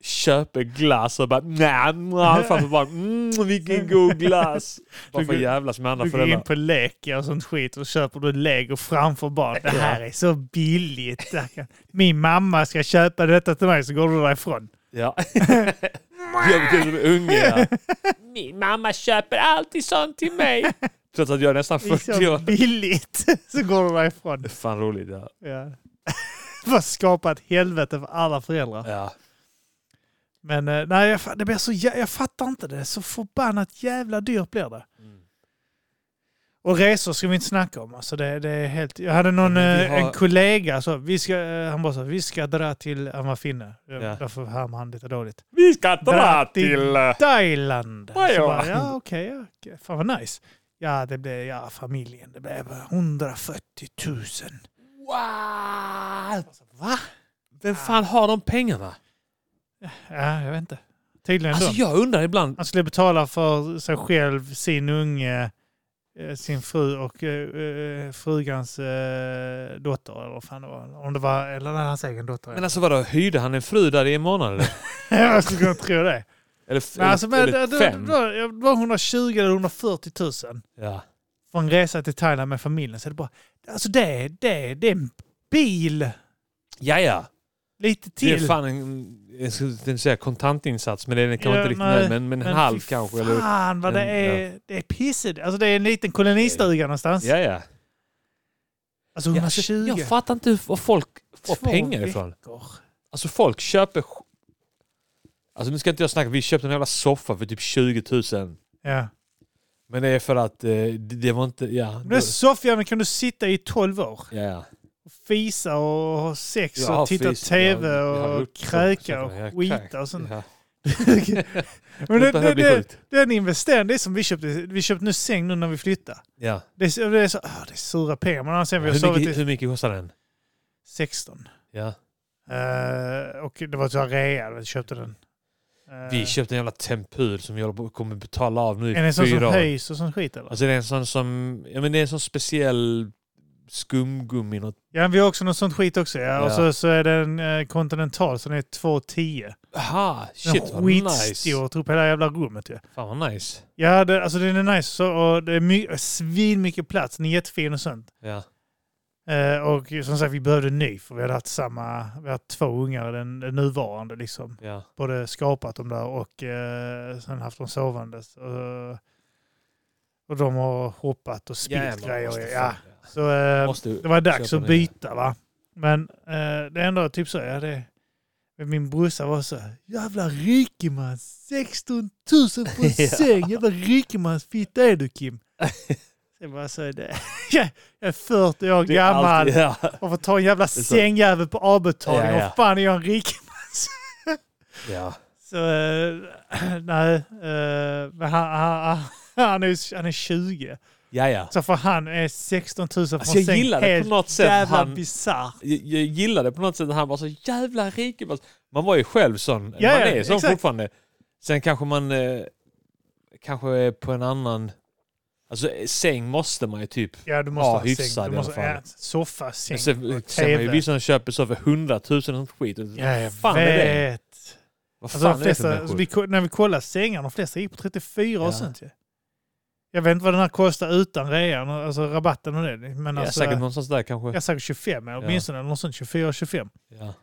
köper glass och bara nej, nej, framför bara mm, vilken god glass. Bara för att jävlas med andra Du går föräldrar. in på Leka och sånt skit och köper du Lego framför barn. Det här är så billigt. Det här kan- Min mamma ska köpa detta till mig så går du därifrån. Ja. jag blir som en unge. Ja. Min mamma köper alltid sånt till mig. Trots att jag är nästan Det är 40 så år. billigt. Så går du därifrån. Det är fan roligt. Ja. Ja. Vad skapar ett helvete för alla föräldrar. Ja. Men eh, nej, jag, fa- det blir så, jä- jag fattar inte det. Så förbannat jävla dyrt blir det. Mm. Och resor ska vi inte snacka om. Alltså det, det är helt... Jag hade någon, Ja, men vi eh, har- en kollega, så vi ska, eh, han bara så, vi ska dra till, han var finne, ja. Ja. därför härmar han lite dåligt. Vi ska Dra dra till- till... eh, Thailand! Så Thailand. bara, ja okej, ja, okej. fan vad nice. Ja det blev, ja familjen, det blev 140 000. Wow! Va? Vem fan har de pengarna? Ja, jag vet inte. Tydligen Alltså de. jag undrar ibland. Han skulle betala för sig själv, sin unge, eh, sin fru och eh, eh, frugans eh, dotter. Eller vad fan det var. Om det var, eller nej, hans egen dotter. Men alltså vadå, hyrde han en fru där i en månad eller? jag skulle kunna tro det. Eller, f- Men alltså, men, eller det, det, fem? det var 120 eller 140 000 Ja. för en resa till Thailand med familjen. Så det, bara, alltså det, det, det är en bil ja, ja. lite Det är till. fan en, jag skulle inte säga kontantinsats, men det är kanske Ja, inte riktigt nej. nöjd, men, men, en Men halv fy kanske. Eller, Fan vad det en- är, det är pissigt. Alltså det är en liten kolonistuga någonstans. ja, ja. Alltså Ja, alltså, 120. jag fattar inte hur- var folk får Två pengar ifrån. veckor. Alltså folk köper... sk- Alltså nu ska inte jag snacka, vi köpte en jävla soffa för typ 20 000. Ja. Men det är för att eh, det, det var inte... Ja. Men den soffjäveln kan du sitta i 12 år ja, ja. och fisa och ha sex Jag har och titta fis- tv jag- jag har och gjort så- kräka så- jag och skita och sånt. Ja. Men det, Låt det här det, bli det, sjukt. det är en investering. Det är som vi köpte. Vi köpte nu säng nu när vi flyttade. Ja. Det är, så- det är så, ah, det är sura pengar. Men sen vi har Hur, sovit mycket, i hur mycket kostar den? 16. Ja. Eh, och det var så här rea. Vi köpte den. Eh, Vi köpte en jävla tempur som vi håller på- kommer betala av nu Är det i en sån som fyra år. höjs och sån skit eller? Alltså det är en sån som, ja men det är en sån speciell skumgummi. Något. Ja, vi har också något sånt skit också. Ja. Och Ja. så, så är den eh, kontinental, så den är 2,10. Aha, shit Den vad nice. skitstor, tog upp hela jävla rummet ju. Ja, Fan vad nice. ja det, alltså den är nice så, och det är my- svin mycket plats. Den är jättefin och sånt. Ja. Eh, och som sagt, vi behövde en ny för vi hade haft samma, vi hade haft två ungar, den, den nuvarande liksom. Ja. både skapat dem där och eh, sen haft dem sovandes. Och, och de har hoppat och Jävlar, spilt måste grejer. fan- Ja. Så, eh, Måste det var dags köpa att nya. byta va. Men eh, det är ändå typ så, ja det men min brorsa var så här, jävla rikeman, 16 000 på en Ja. säng, jävla rikemans fitta är du Kim. Så jag bara, så är det. Jag är 40 år Det är gammal alltid- ja. och får ta en jävla så. sängjävel på avbetalning. Ja, ja. Och fan är jag en rik ja. så, eh, nej, eh, men han, han, han, är, han är 20. Ja, ja. Så för han är 16 000 från Alltså jag säng gillar det helt på något sätt. jävla Han, bisarr. jag, jag gillar det på något sätt. att Han var så jävla rik. Man var ju själv sån. Ja, man ja, är sån exakt. fortfarande. Sen kanske man eh, kanske är på en annan... Alltså eh, säng måste man ju typ. Ja, du måste Ja, ha en hyfsad säng. i Du måste alla fall. ha soffa, säng, Men Sen, eh, sen har TV. ju vissa som köper så för hundratusen och sånt skit. Ja, jag Vad fan vet. är det? Vad fan Alltså, de är det för flesta, alltså, vi, människor? ko- när vi kollar sängar, de flesta gick på 34 Ja. och sånt ju. Jag vet inte vad den här kostar utan rean, alltså rabatten och det. Men Ja, alltså, säkert någonstans där kanske. jag är säkert 25, eller Ja. åtminstone eller något sånt. 24-25. Ja.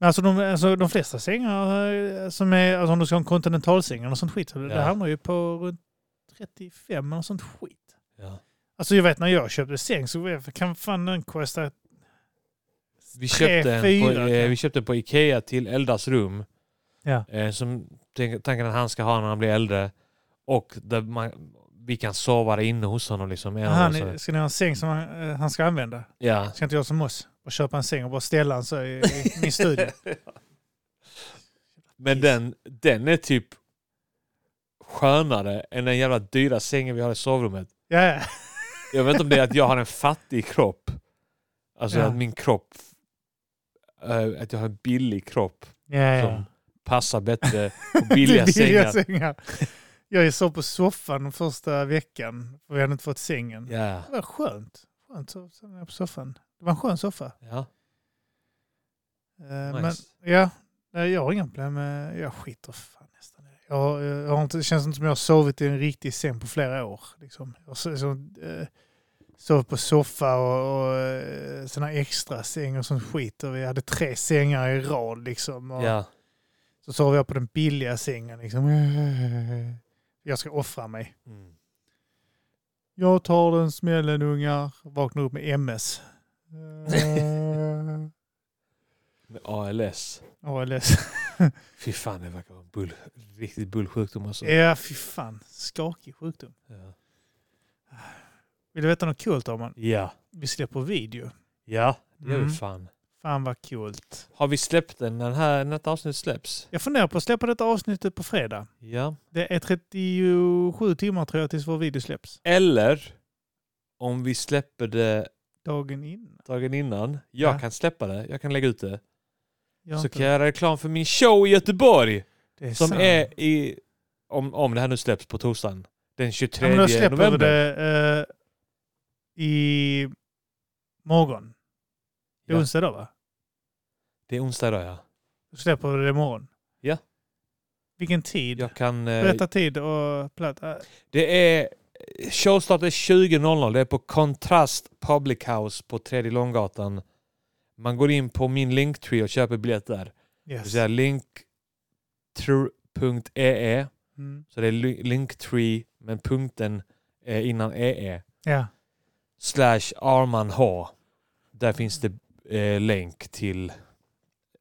Men Alltså de, alltså de flesta sängar eh, som är, alltså om du ska ha en kontinentalsäng och sånt skit, så det- Ja. det hamnar ju på runt 35 och sånt skit. Ja. Alltså jag vet när jag köpte säng så jag- kan fan den kosta Vi, Tre, köpte en på, fyra, eh, vi köpte en på Ikea till Eldas rum. Ja. Eh, som tänk- tanken att han ska ha när han blir äldre. Och där man, vi kan sova där inne hos honom. Liksom, en av han, oss. är- ska ni ha en säng som han, eh, han ska använda? ja. Ska inte jag som oss och köpa en säng och bara ställa den så i, i min studio? Men den, den är typ skönare än den jävla dyra sängen vi har i sovrummet. Ja, ja. Jag vet inte om det är att jag har en fattig kropp. Alltså Ja. att min kropp... eh, att jag har en billig kropp ja, ja. som passar bättre på Det billiga är sängar. sängar. Jag sov på soffan den första veckan för vi hade inte fått sängen. Ja. Det var skönt. Skönt så, så var jag på soffan. Det var en skön soffa. Ja. Eh, Nice. Men ja, nej, jag har inga problem med... Jag skiter fan nästan i det. jag, har- eh, jag har inte, Det känns inte som jag har sovit i en riktig säng på flera år. Liksom. Jag har så, så, eh, sovit på soffa och, och eh, såna extra sängar och sånt skit. Och vi hade tre sängar i rad liksom. Och ja. Så sov jag på den billiga sängen liksom. Jag ska offra mig. Mm. Jag tar den smällen ungar. Vaknar upp med MS. Eh, Med ALS. ALS. Fy fan, det verkar vara en bull, riktigt bullsjukdom alltså. Ja, fy fan. Skakig sjukdom. Ja. Vill du veta något coolt Arman? Ja. Vi släpper video. Ja, det gör vi Mm. fan. Fan vad coolt. Har vi släppt den när den här, när detta avsnitt släpps? Jag funderar på att släppa detta avsnittet på fredag. Ja. Det är 37 timmar tror jag tills vår video släpps. Eller om vi släpper det Dagen innan. dagen innan. Jag Ja. kan släppa det, jag kan lägga ut det. Gör Så inte kan jag göra reklam för min show i Göteborg. det är Som sant. är i, om, om det här nu släpps på torsdagen, den 23 ja, men då släpper vi november. det eh, i morgon. Det är Ja. onsdag då va? Det är onsdag idag ja. Då släpper vi det imorgon. Ja. Vilken tid? Jag kan, eh, Berätta tid och plats. Eh, Det är showstart är 20.00. Det är på Kontrast Public House på Tredje Långgatan. Man går in på min Linktree och köper biljett där. Det vill Yes. säga linktree.ee. Mm. E. Så det är li- Linktree, men punkten är innan ee. Ja. Slash Arman H. Där finns det eh, länk till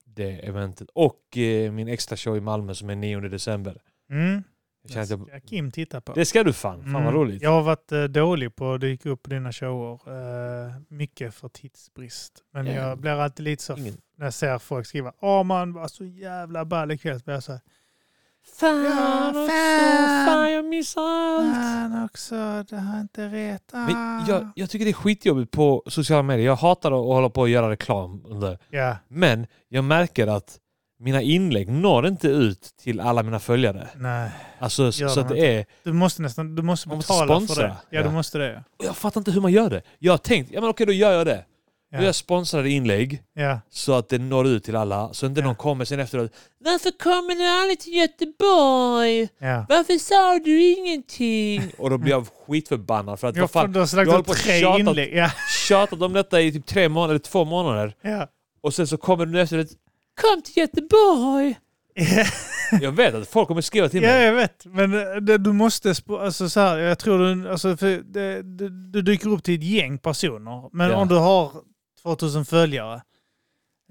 det eventet. Och eh, min extra show i Malmö som är 9 december. Mm. Jag känner att jag, Ska Kim titta på. det ska du fan. Fan vad Mm. roligt. Jag har varit eh, dålig på att dyka upp på dina shower. Eh, mycket för tidsbrist. Men Ja. jag blir alltid lite så Ingen. när jag ser folk skriva Åh man var så jävla ball ikväll. Så blir jag så här, Fan Ja, också, fan. Ah. fan jag missar allt. Fan också, det har inte rätt. Ah. Men jag, jag tycker det är skitjobbigt på sociala medier. Jag hatar att hålla på och göra reklam. Under. Ja, Men jag märker att mina inlägg når inte ut till alla mina följare. Nej. Alltså Gör så, så de att det är... Du måste nästan du måste Man måste betala för sponsra. det. Ja, du Ja. måste det. Och jag fattar inte hur man gör det. Jag har tänkt, ja men okej då gör jag det. Ja. Då gör jag sponsrade inlägg Ja. så att det når ut till alla. Så inte Ja. någon kommer sen efteråt. Varför kommer du aldrig till Göteborg? ja. Varför sa du ingenting? Och då blir jag skitförbannad för att Jag vad fan, du har jag håller slagit på upp och tre tjatat. inlägg. Ja. tjatat om detta i typ tre månader, eller två månader. Ja. Och sen så kommer du efteråt. Kom till Göteborg! Jag vet att folk kommer skriva till ja, mig. jag vet. Men eh, det, du måste... spo- Alltså, så här, jag tror du... Alltså, för det, du, du dyker upp till ett gäng personer. Men Ja. om du har 2000 följare,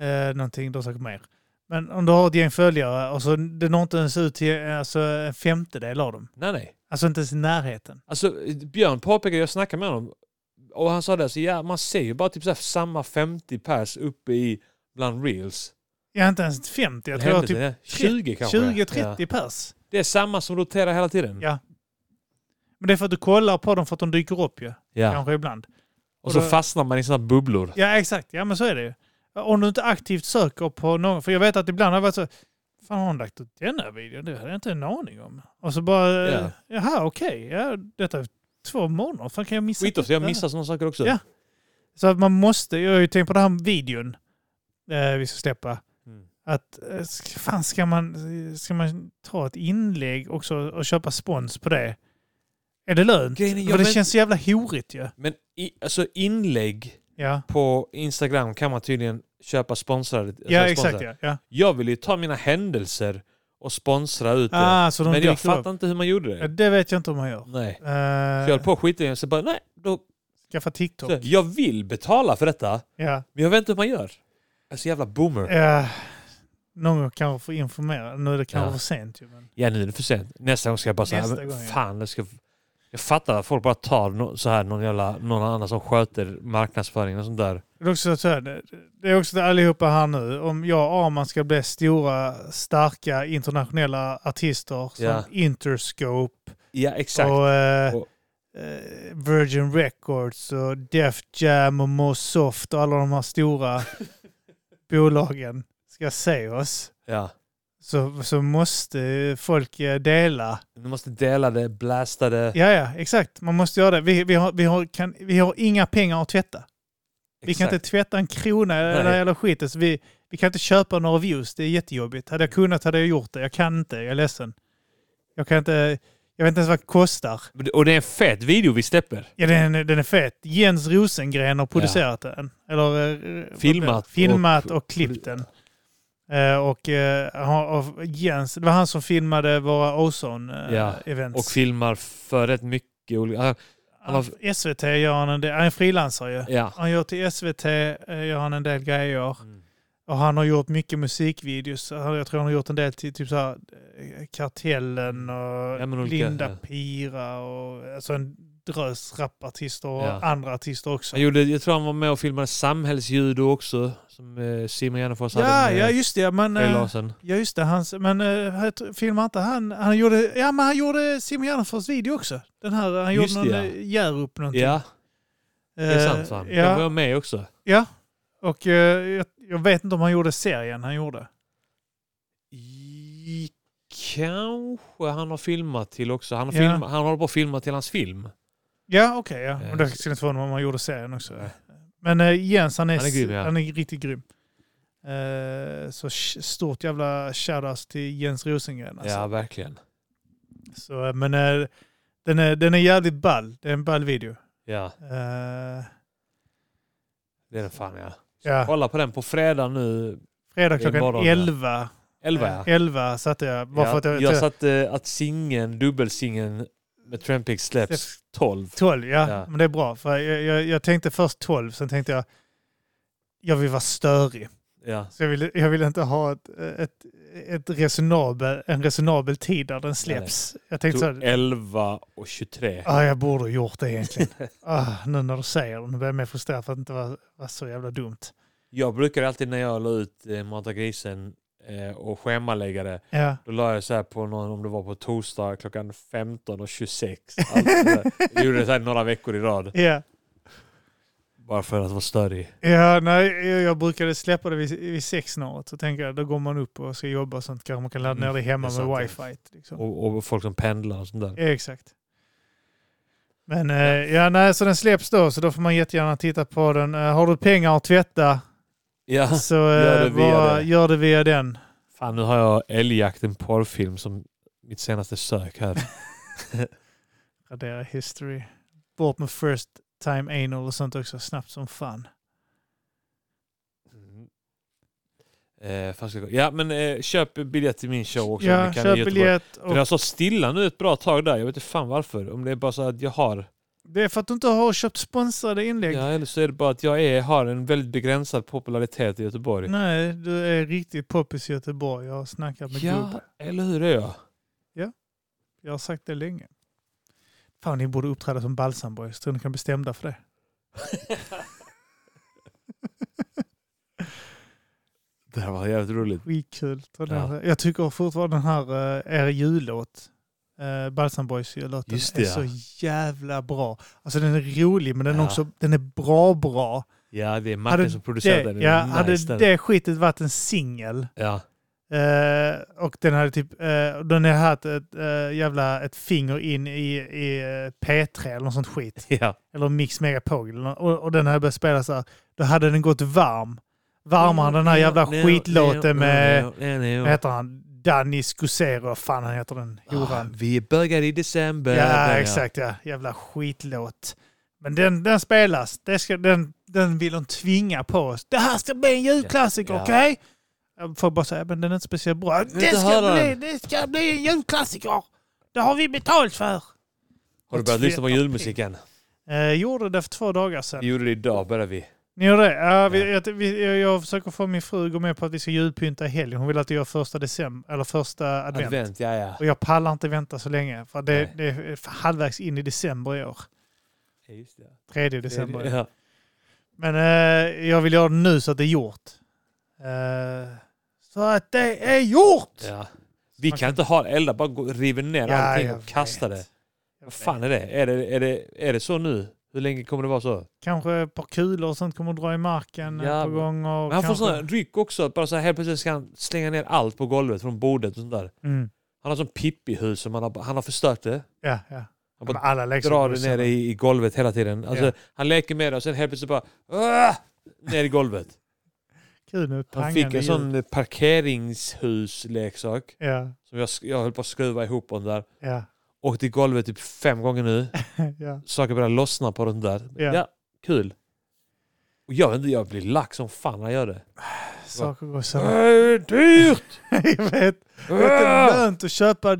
eh, någonting, då säkert mer. Men om du har ett gäng följare och så det når inte ens ut till eh, alltså, en femtedel av dem. Nej, nej. Alltså inte ens i närheten. Alltså, Björn påpekade, jag snackade med honom och han sa det, så ja, man ser ju bara typ så här, samma 50 pers uppe i bland reels. Jag inte ens 50, jag tror jag Hände har typ det? 20 kanske? 20-30 Ja. pers. Det är samma som roterar hela tiden. Ja. Men det är för att du kollar på dem för att de dyker upp ju. Ja. Kanske ibland. Och så Och då- fastnar man i sådana bubblor. Ja, exakt. Ja, men så är det ju. Om du inte aktivt söker på någon. För jag vet att ibland har jag varit så. Fan, har hon lagt ut den här videon? Det hade jag inte en aning om. Och så bara, eh, Ja. jaha, okej. Ja, detta är två månader. Fan, kan jag missa? Skit också, jag detta? missar sådana saker också. Ja. Så att man måste, jag har ju tänkt på den här videon eh, vi ska släppa. Mm. Att, eh, sk- fan ska man, ska man ta ett inlägg också och köpa spons på det? Är det lönt? Grejen är, jag För det vet- känns så jävla horigt ju. Men i, alltså inlägg Ja, på Instagram kan man tydligen köpa sponsrade. ja alltså sponsrade. exakt ja. ja. Jag vill ju ta mina händelser och sponsra ut det. Ah, så de men jag dyker upp. fattar inte hur man gjorde det. Ja, Eh, det vet jag inte om man gör. Nej. Så jag Uh, höll på skit i så bara, nej, då, skaffa TikTok. så, jag vill betala för detta, Ja. men jag vet inte hur man gör. Jag är så jävla boomer. Eh, någon gång kanske får informera. Nu är det kanske Ja. för sent ju. Men, Ja, nu är det för sent. Nästa gång ska jag bara säga, Nästa gång, ja. fan, jag, ska, jag fattar att folk bara tar no, så här någon jävla, någon annan som sköter marknadsföringen och sånt där. det, är också så här, det- det är också till allihopa här nu. Om jag och Arman ska bli stora, starka internationella artister som Ja. Interscope Ja, exakt. och eh, Och- eh, Virgin Records och Def Jam och Mosoft och alla de här stora bolagen ska se oss. Ja. Så, så måste folk eh, dela Du måste dela det, blasta det. Ja, ja, exakt. Man måste göra det. Vi, vi, har, vi, har, kan, vi har inga pengar att tvätta. Vi kan Exakt. inte tvätta en krona eller Nej. hela skiten. Så vi, vi kan inte köpa några views. Det är jättejobbigt. Hade jag kunnat hade jag gjort det. Jag kan inte. Jag är ledsen. Jag kan inte... Jag vet inte ens vad det kostar. Men det- Och det är en fet video vi släpper. Ja, den, den är fet. Jens Rosengren har producerat den. Eller, eh, Filmat vad blir det? och- Filmat och, klippt den. Eh, och, eh, han- och Jens, det var han som filmade våra eh, Ja, Ozone-events. Och filmar för rätt mycket olika... Han, han har, SVT gör han en del, han är frilansare ju. ja. Han gör till SVT, eh, gör han en del grejer. Mm. Och han har gjort mycket musikvideos. Han- Jag tror han har gjort en del till typ så här, eh, Kartellen och Mm. Ja, men olika, Linda ja. Pira och alltså en drös rapartister och Ja. andra artister också. Han gjorde, jag tror han var med och filmade samhällsjudo också, som eh, Simon Gärdenfors Ja, hade ja, med just det. Men, Kaj eh, Larsen. ja, just det. Hans, men eh, filmar inte han? Han gjorde, ja, men han gjorde Simon Gärdenfors video också. Den här, han Just gjorde det, någon ja. eh, Hjärup någonting. Ja, det är Eh, sant sa han. ja. Den var jag med också. Ja, och eh, jag, jag vet inte om han gjorde serien han gjorde. I, kanske han har filmat till också. Han, har Ja. filmat, han håller på att filma till hans film. Ja, okej. ja. Eh, Men det skulle inte vara om han gjorde serien också. Men eh, Jens, han är, Han är grym, ja. han är riktigt grym. Eh, så sh- stort jävla shoutout till Jens Rosengren. Alltså. Ja, verkligen. Så, eh, men eh, den, är, den är jävligt ball. Det är en ball video. Ja, Eh, det är den fan ja. ja. Kolla på den på fredag nu. Fredag Det är klockan imorgon, ja. 11. 11 ja. 11 satte jag. Eh, Bara för att jag, jag satte eh, att singeln, dubbelsingeln med Trampix släpps 12. 12, ja. Ja. Men det är bra. För jag, jag, jag tänkte först 12, sen tänkte jag jag vill vara störig. Ja. Så Alltså, jag ville, jag ville inte ha ett, ett, ett resonabel, en resonabel tid där den släpps. Jag tänkte så Tog här, 11 och 23. ah, jag borde ha gjort det egentligen. ah, nu när du säger det, nu blir jag mer frustrerad för att det inte var, var så jävla dumt. Jag brukar alltid när jag la ut eh, Mata grisen eh, och schemalägga det, Ja. då la jag så här på någon, om det var på torsdag klockan 15 och 26. Alltså, jag gjorde det så här några veckor i rad. Ja. Bara för att vara störig. Ja, nej, jag jag brukade släppa det vid, vid sexsnåret. Så tänker jag, då går man upp och ska jobba och sånt. Kanske man kan ladda ner det hemma Mm, det är sant, med ja. wifi. Liksom. Och, och folk som pendlar och sånt där. Ja, exakt. Men eh, ja, nej, så den släpps då. Så då får man jättegärna titta på den. Eh, har du pengar att tvätta Ja. så gör gör, det det via bara, det. gör det via den. Fan, nu har jag Älgjakt, en porrfilm som mitt senaste sök här. Radera history. Bort med first time anal och sånt också. Snabbt som fan. Mm. Eh, fan ska jag gå- ja, men eh, köp biljett till min show också. om ja, ni kan i köp Göteborg. biljett. För Och jag står stilla nu ett bra tag där. Jag vet inte fan varför. Om det är bara så att jag har... det är för att du inte har köpt sponsrade inlägg. Ja, eller så är det bara att jag är, har en väldigt begränsad popularitet i Göteborg. Nej, du är riktigt poppis i Göteborg. Jag har snackat med Globen. ja, eller hur är jag? Jag har sagt det länge. Fan, ni borde uppträda som Balsam Boys. Tror ni kan bestämma för det? Det här var jävligt roligt. Skitkul. Ta den Ja. här- Jag tycker fortfarande den här eh, er jullåt, eh, Balsam Boys jullåten, Just det, är ja. så jävla bra. Alltså den är rolig, men den, är Ja. också, den är bra bra. Ja, det är Martin Hade som producerade det, den. ja, nice hade den. det skitet varit en singel Ja. eh, och den hade typ, eh, den hade haft ett eh, jävla ett finger in i, i eh, P3 eller något sånt skit. ja. eller Mix Megapol eller nå- och, och den hade börjat spela så här, då hade den gått varm. Varmare än den Mm, här jävla skitlåten med, vad heter han, Danny Scusero, vad fan han heter den Ah, horan. vi bögar i december. Ja, exakt ja. Jävla skitlåt. Men den, den spelas. Det ska, den, den vill de tvinga på oss. Det här ska bli en julklassiker, Ja. okej? Jag får bara säga, men den är inte speciellt bra. inte Det ska, höra bli, det ska bli en julklassiker! Det har vi betalt för! Har du börjat lyssna på julmusiken? Eh, gjorde det för två dagar sedan. Vi gjorde det idag, började vi. Ni gör det? Ja, vi, Ja. Jag, vi, jag, jag försöker få min fru att gå med på att vi ska julpynta i helgen. Hon vill att jag gör första december, eller första advent. Advent, ja ja. Och jag pallar inte vänta så länge. För det, Nej. det är för halvvägs in i december i år. Ja, just det. Tredje december. Ja. Men eh, jag vill göra det nu så att det är gjort. Eh, så att det är gjort! Ja. Vi kan inte ha elda, bara gå, riva ner Ja, allting jag och kasta vet. det. Jag Vad vet. fan är det? Är det, är, det, är det så nu? Hur länge kommer det vara så? Kanske ett par kulor och sånt kommer att dra i marken eh, Ja, på men- gång. Och Men han får kanske- sån ryck också, bara så här, helt plötsligt ska han slänga ner allt på golvet från bordet och sånt där. mm. Han har sån Pippi-hus som han har, han har förstört det. Ja, ja. Han Men bara alla leksaker. drar det ner i, i golvet hela tiden. Alltså, Ja. Han leker med det och sen helt plötsligt bara "Åh!" ner i golvet. Kul med Han fick pangande en ljud. sån parkeringshusleksak Ja, som jag, sk- jag höll på att skruva ihop den där. ja, Åkte i golvet typ fem gånger nu. ja. Saker börjar lossna på den där. Ja. Ja, kul. Och jag, vet inte, jag blir lack som fan när jag gör det. Saker går Äh, Det sönder. är dyrt! Äh! jag vet. Det är Ah! inte lönt att köpa.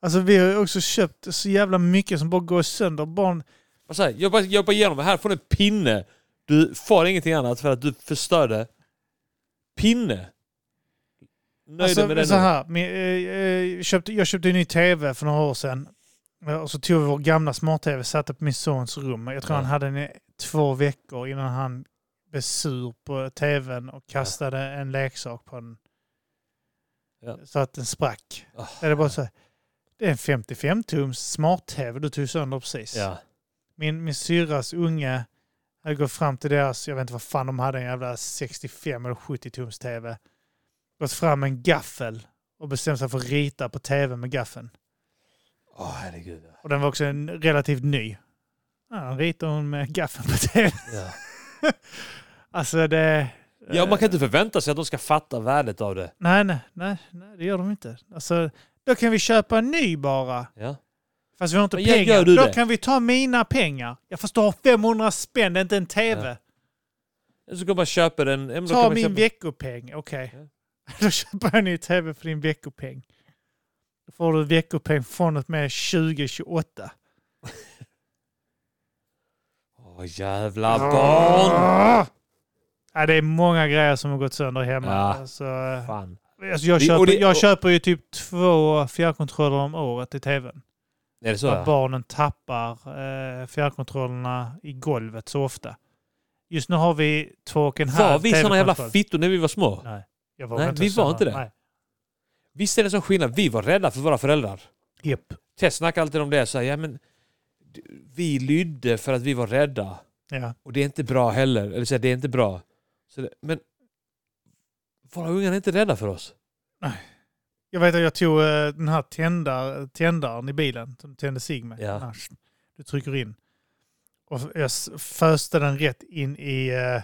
Alltså vi har ju också köpt så jävla mycket som bara går sönder. Barn, Och så här, jag bara, jag bara ger dem, här får du en pinne. Du får ingenting annat för att du förstörde. Pinne! Nöjd alltså, med den. så nu. här, men, eh, eh, köpte, jag köpte en ny tv för några år sedan. Eh, Och så tog vi vår gamla smart-tv och satte på min sons rum. Jag tror Ja. han hade den i två veckor innan han blev sur på tvn och kastade en leksak på den. Ja. Så att den sprack. Ah. Det är bara så här, det är en 55-tums smart-tv du tog sönder precis. Ja. min, min syrras unge hade gått fram till deras, jag vet inte vad fan de hade, en jävla 65 eller 70-tums tv. Gått fram med en gaffel och bestämt sig för att rita på tv med gaffeln. Åh herregud. Och den var också en relativt ny. Ja, den ritar hon med gaffeln på tv. Ja. Alltså det... ja, man kan inte förvänta sig att de ska fatta värdet av det. Nej, nej, nej, nej, det gör de inte. Alltså, då kan vi köpa en ny bara. Ja. Fast vi har inte Men gör- pengar. gör du då det? kan vi ta mina pengar. Jag förstår 500 spänn, det är inte en tv. Ja. Så går man och köper en... ja, men då kan Ta man min köpa- veckopeng, okej. Då köper jag en ny tv för din veckopeng. Då får du veckopeng från och med 2028. Åh jävla barn! Ah! Ja, det är många grejer som har gått sönder hemma. Ja. Alltså, eh, Fan. alltså jag, Det- köper, och det- jag och- köper ju typ två fjärrkontroller om året i tvn. Är det så? För att Ja? barnen tappar eh, fjärrkontrollerna i golvet så ofta. Just nu har vi två och en halv Var vi såna jävla TV-kontroll. fittor när vi var små? Nej, jag vågar Nej, vi säga var inte det. Nej. Visst är det en sån skillnad? Vi var rädda för våra föräldrar. Japp. Tess snackar alltid om det. Så här, ja, men, d- vi lydde för att vi var rädda. Ja. Och det är inte bra heller. Eller så här, det är inte bra. Så det, men våra ungar är inte rädda för oss. Jag vet att jag tog eh, den här tändar, tändaren i bilen som tände cigg med. Ja. Den här, Du trycker in. Och jag s- föste den rätt in i... eh,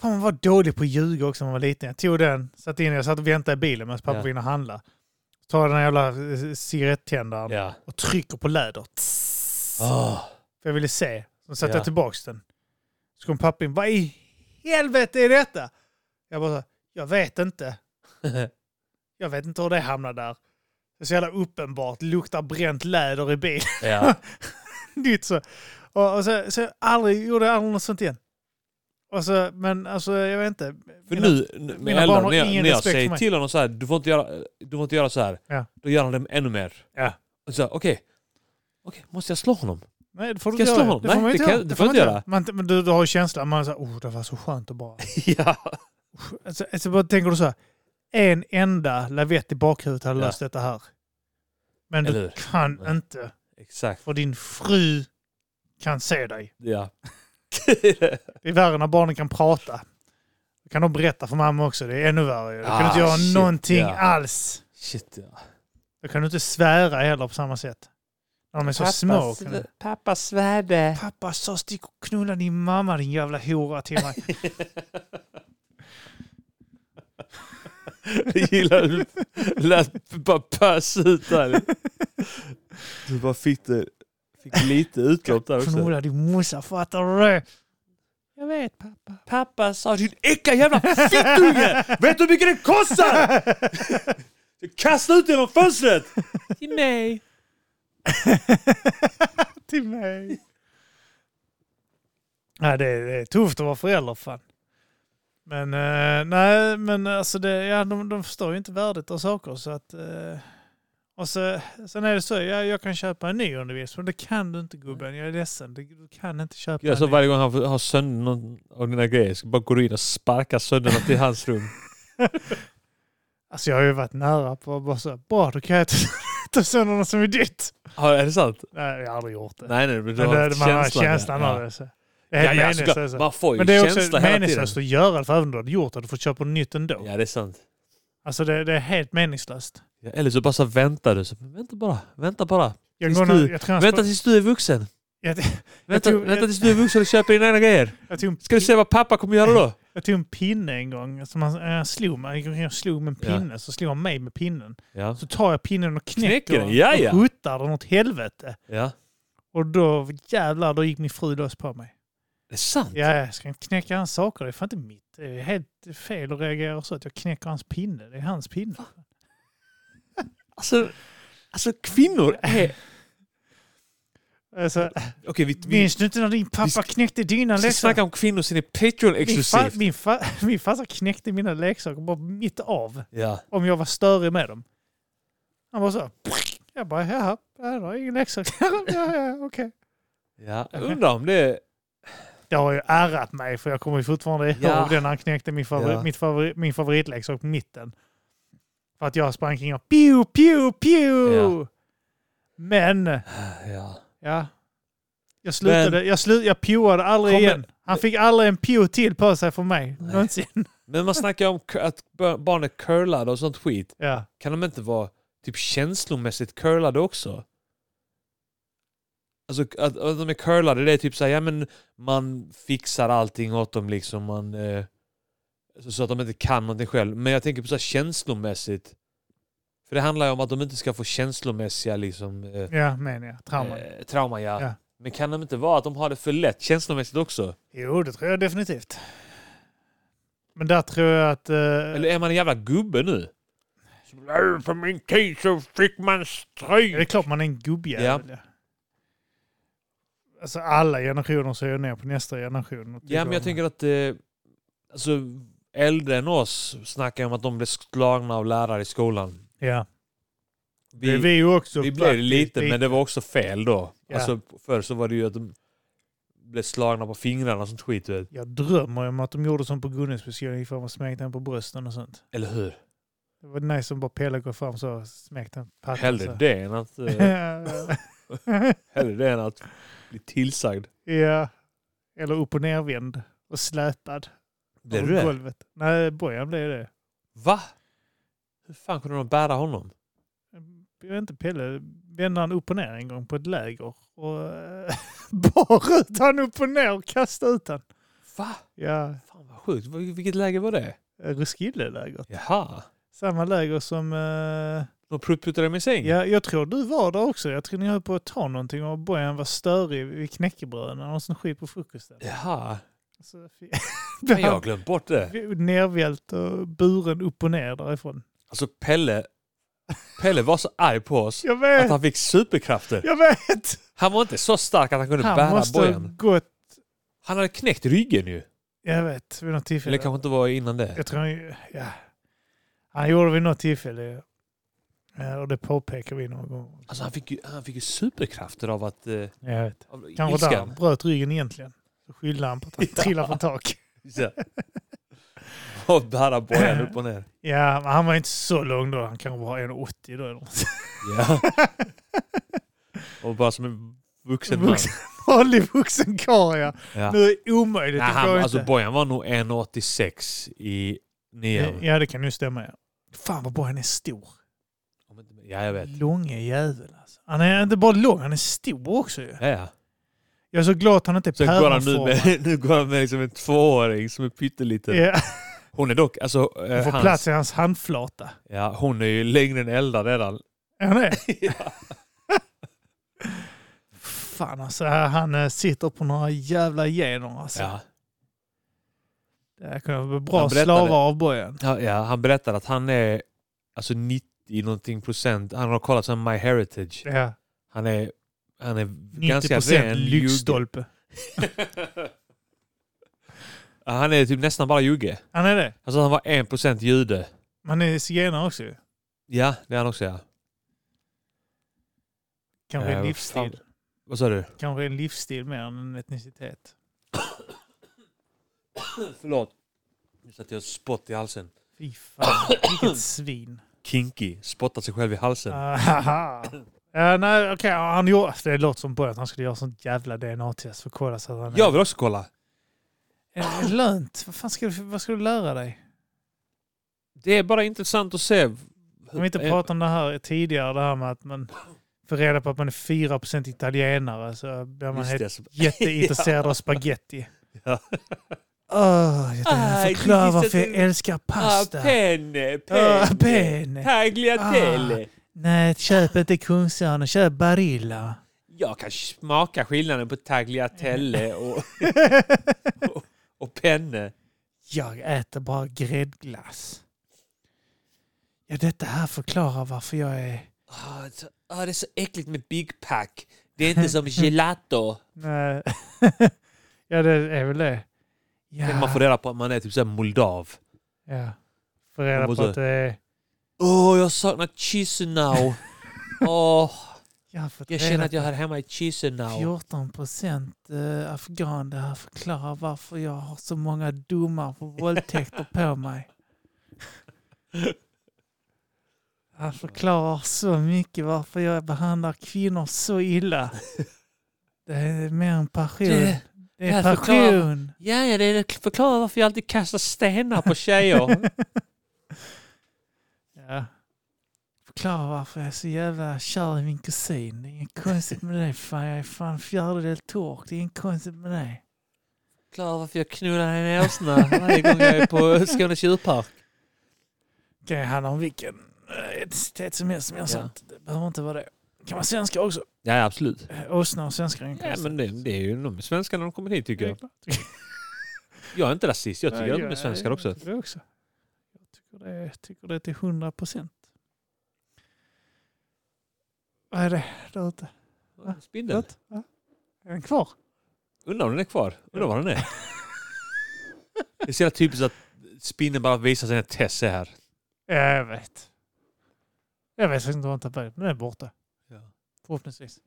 Fan man var dålig på att ljuga också när man var liten. Jag tog den, satte in den, jag satt och väntade i bilen medan pappa Ja. var inne och handlade. Så tar jag den här jävla eh, cigarettändaren Ja. och trycker på läder. Tss. Ah. För jag ville se. Så satte Ja. jag tillbaks den. Så kom pappa in. Vad i helvete är detta? Jag bara, så, jag vet inte. Jag vet inte hur det hamnade där. Det är så jävla uppenbart. Luktar bränt läder i bilen. ja. Nytt så. Och, och så, så jag aldrig, gjorde jag aldrig något sånt igen. Och så, men alltså jag vet inte. För Mina- nu, nu- med mina Ellen, barn har när jag, ingen när jag respekt för säger mig. till honom så här, du får inte göra, du får inte göra så här. Ja. Då gör han det ännu mer. Ja. Och så här, okej. Okej, måste jag slå honom? Nej, det får du Ska inte jag slå göra. honom? Nej, det kan- det får jag inte göra. Man, men du, du har ju känslan. Man säger, oh det var så skönt att bara... ja. Alltså, alltså bara tänker du så här. En enda lavett i bakhuvudet hade Ja. löst detta här. Men Eller du hur? kan Nej. inte. Exakt. För din fru kan se dig. Ja. Det är värre när barnen kan prata. Då kan de berätta för mamma också. Det är ännu värre. Då kan du Ah, inte göra shit, någonting ja. alls. Shit ja. Då kan du inte svära heller på samma sätt. När de är så små. kan du- Pappa svärde. Pappa sa stick och knulla din mamma din jävla hora till mig. Jag gillar hur du lät bara pös ut där. Du bara fick, det, fick lite utlopp där också. Knulla din morsa, fattar du det? Jag vet pappa. Pappa sa din äcka jävla fittunge! Vet du hur mycket det kostar? Kasta ut genom fönstret! Till mig. till mig. Ja, det, är, det är tufft att vara förälder fan. Men eh, nej, men alltså det, ja, de, de förstår ju inte värdet av saker så att... Eh, och så, sen är det så, ja, jag kan köpa en ny undervisning, men det kan du inte gubben, jag är ledsen. Det- Du kan inte köpa Jag så en ny. varje gång han får- har sönder någon av dina grejer så bara går du in och sparkar sönder något i hans rum. Alltså jag har ju varit nära på att bara så, bra då kan jag ta, ta sönder något som är ditt. Ja, är det sant? Nej, jag har aldrig gjort det. Nej, nej, men du men har det, haft man har känslan. ja. känslan av ja. det. Så. Det är Ja, helt ja, meningslöst. såklart. alltså. Man får ju Men det är känsla också hela tiden. meningslöst att göra det, för även om du hade gjort det, du får köpa en nytt ändå. Ja, det är sant. Alltså det, det är helt meningslöst. Ja, eller så bara så väntar du. Så, men vänta bara, vänta bara. Jag Tills går du- nu, jag, tror jag, Vänta sp- tills du är vuxen. jag, Vänta, tror- vänta jag- tills du är vuxen och köper dina egna grejer. jag, tog en, Ska du se vad pappa kommer göra då? jag tog en pinne en gång. Som han, eh, han slog mig. Jag gick omkring och slog med en Ja. pinne, så slog han mig med pinnen. Ja. Så tar jag pinnen och knäcker, Knäcker den, ja, ja. och huttar den åt helvete. ja. Och då jävlar, då gick min fru loss på mig. Det är sant. Ja, jag ska inte knäcka hans saker, det är fan inte mitt. Det är helt fel att reagera så att jag knäcker hans pinne. Det är hans pinne. Alltså, alltså kvinnor är... Alltså, Okej, vi, vi, minns du inte när din pappa sk- knäckte dina vi ska läxor? snacka om kvinnor som är Patreon Min, fa exklusivt. min, fa min farsa knäckte mina leksaker bara mitt av Ja. om jag var störig med dem. Han var så. Jag bara, jaha, jag har ingen leksak. ja, ja, okej. ja. Jag undrar om det är... Det har ju ärrat mig för jag kommer ju fortfarande ihåg Ja. den när han knäckte min, favori Ja. mitt favori min favoritleksak på mitten. För att jag sprang kring och pew, pew, pew! Ja. Men, Ja. ja. Jag slutade, jag, slu jag pewade aldrig Kommer- igen. Han fick aldrig en pew till på sig från mig. Någonsin. Men man snackar om k- att b- barn är curlade och sånt skit. Ja. Kan de inte vara typ känslomässigt curlade också? Alltså att, att de är curlade, det är typ såhär, ja men man fixar allting åt dem liksom. Man, eh, så, så att de inte kan någonting själv. Men jag tänker på såhär känslomässigt. För det handlar ju om att de inte ska få känslomässiga liksom... Eh, Ja, men ja. Trauman. Eh, trauma ja. Ja. Men kan de inte vara att de har det för lätt känslomässigt också? Jo, det tror jag definitivt. Men där tror jag att... eh, Eller är man en jävla gubbe nu? På min tid så fick man det är stryk. klart man är en gubbjävel. Ja. Alltså alla generationer ser ju ner på nästa generation. och Ja, men jag om- tänker att eh, alltså, äldre än oss snackar ju om att de blev slagna av lärare i skolan. Ja. Vi, Mm. det Vi, är vi ju också. vi blev det faktiskt lite, men det var också fel då. Ja. Alltså, förr så var det ju att de blev slagna på fingrarna och sånt skit. du Vet. Jag drömmer ju om att de gjorde som på Gunnesbyskolan. Gick fram och smekte henne på brösten och sånt. Eller hur? Det var nice som bara Pelle går fram så smekte henne på pattan. Hellre så. det, än att, eh, hellre det än att bli tillsagd. ja. Eller upp och nervänd och släpad. Blev över du det? golvet. Nej, Bojan blev det. Va? Hur fan kunde de bära honom? Jag vet inte, Pelle vände han upp och ner en gång på ett läger och eh, bar ut han upp och ner och kastade ut han. Va? Ja, Fan vad sjukt. Vil- Vilket läge var det? Roskildelägret. Jaha. Samma läger som... eh, De pruttputtade dem i säng? ja, jag tror du var där också. Jag tror ni höll på att ta någonting och Bojan var störig vid knäckebröden och sån skit på frukosten. Jaha. Så fi- Men jag har glömt bort det. nervält och buren upp och ner därifrån. Alltså Pelle, Pelle var så arg på oss Jag att vet! han fick superkrafter. Jag vet! Han var inte så stark att han kunde Han bära måste ha bojan. gått... Han hade knäckt ryggen ju. Jag vet, vid något tillfälle. Eller kanske inte var innan det. Jag tror han, ja. han gjorde vid något tillfälle. ja. Och det påpekar vi någon gång. Alltså han fick ju, han fick ju superkrafter av att... Eh, Jag vet. av Kanske där ilskan. han bröt ryggen egentligen. Så skyllde han på att han Ja. trillade från tak. Ja. Och bära bojan upp och ner. Ja, men han var inte så lång då. Han kanske var 1,80 då. Eller något. Ja. Och bara som en vuxen man. Vuxen- Vanlig vuxen karl ja. Ja. Nu är det omöjligt. Nej, det går han, inte. alltså bojan var nog 1,86 i nian. ja, det kan ju stämma. Ja. Fan vad bra han är stor. Om inte- Ja, jag vet. Långe jävel alltså. Han är inte bara lång, han är stor också ju. Ja, ja. Jag är så glad att han inte är Sen går han nu päronformad. med, nu går han med liksom en tvååring som är pytteliten. Ja, Hon är dock, alltså, eh, han får hans- plats i hans handflata. Ja, hon är ju längre än Elda redan. Är han det? Ja. Fan alltså, han eh, sitter på några jävla gener alltså. Ja. Det här kommer bli bra Han berättade- slavar av Bojan. Ja, ja, han berättar att han är alltså 90 någonting procent, han har kollat sån My Heritage. Ja. Han är, han är 90 ganska ren jugge. lyxstolpe. Ja, Han är typ nästan bara jugge. Han är det. Alltså han var 1 procent jude. Han är zigenare också ju. Ja, det är han också ja. Kanske Ja, en vad livsstil. Vad sa du? Kanske en livsstil mer än en etnicitet. Förlåt. Nu satte jag spott i halsen. Fy fan, vilket svin. Kinky, spottar sig själv i halsen. Ahaha. Ja, nej, okej, han gjorde, det låter som på att han skulle göra sånt jävla DNA-test för att kolla så att han Jag vill också kolla. är, är lönt. Vad fan ska du, vad ska du lära dig? Det är bara intressant att se. Eh, Om vi inte pratat om det här tidigare, det här med att man får reda på att man är 4% italienare så blir man Just helt det, alltså. jätteintresserad av spaghetti. Ja. Åh, jag Ah, tänkte du förklara visste varför att jag du- älskar pasta. Ah, penne, Ah, penne. Ah. Tagliatelle. Nej, köp inte Kungsörnen, köp Barilla. Jag kan smaka skillnaden på tagliatelle och, och, och penne. Jag äter bara gräddglass. Ja, detta här förklarar varför jag är... Ah, så- ah, det är så äckligt med Big Pack. Det är inte som gelato. Nej. ja, det är väl det. Ja. Man får reda på att man är typ såhär moldav. ja. Får reda Man på måste- att det är... Åh, jag saknar Chisinau. Åh, Jag, har fått jag reda känner att på jag hör hemma i Chisinau. 14 procent eh, afghan. Det här förklarar varför jag har så många domar för våldtäkter på mig. Det här förklarar så mycket varför jag behandlar kvinnor så illa. Det är mer en passion. Det- Det det är här passion. Ja, ja, det förklarar varför jag alltid kastar stenar på tjejer. Ja. Förklara varför jag är så jävla kär i min kusin. Det är inget konstigt med det. Fan, jag är fan fjärdedel tork. Det är inget konstigt med det. Förklarar varför jag knullar henne i åsnan varje gång jag är på Skånes djurpark. kan ju handla om vilken eh, etnicitet som helst. Men jag sa Ja. att det behöver inte vara det. kan vara svenska också. Ja, ja, absolut. Eh, Åsna och svenskar är en Ja, konstigt. men det, det är ju de är svenskar när de kommer hit tycker Det är jag. klart. Jag är inte rasist, jag tycker Ja, att de är svenskar jag också. tycker det också. Jag tycker det, jag tycker det till hundra procent. Vad är det där ute? Ja. Spindeln. Något? Va? Är den kvar? Undrar om den är kvar? Undrar var den är? Det är så jävla typiskt att spindeln bara visar sig när Tess är här. Ja, jag vet. Jag vet faktiskt inte var den tappade men den är borta. Ja. Förhoppningsvis.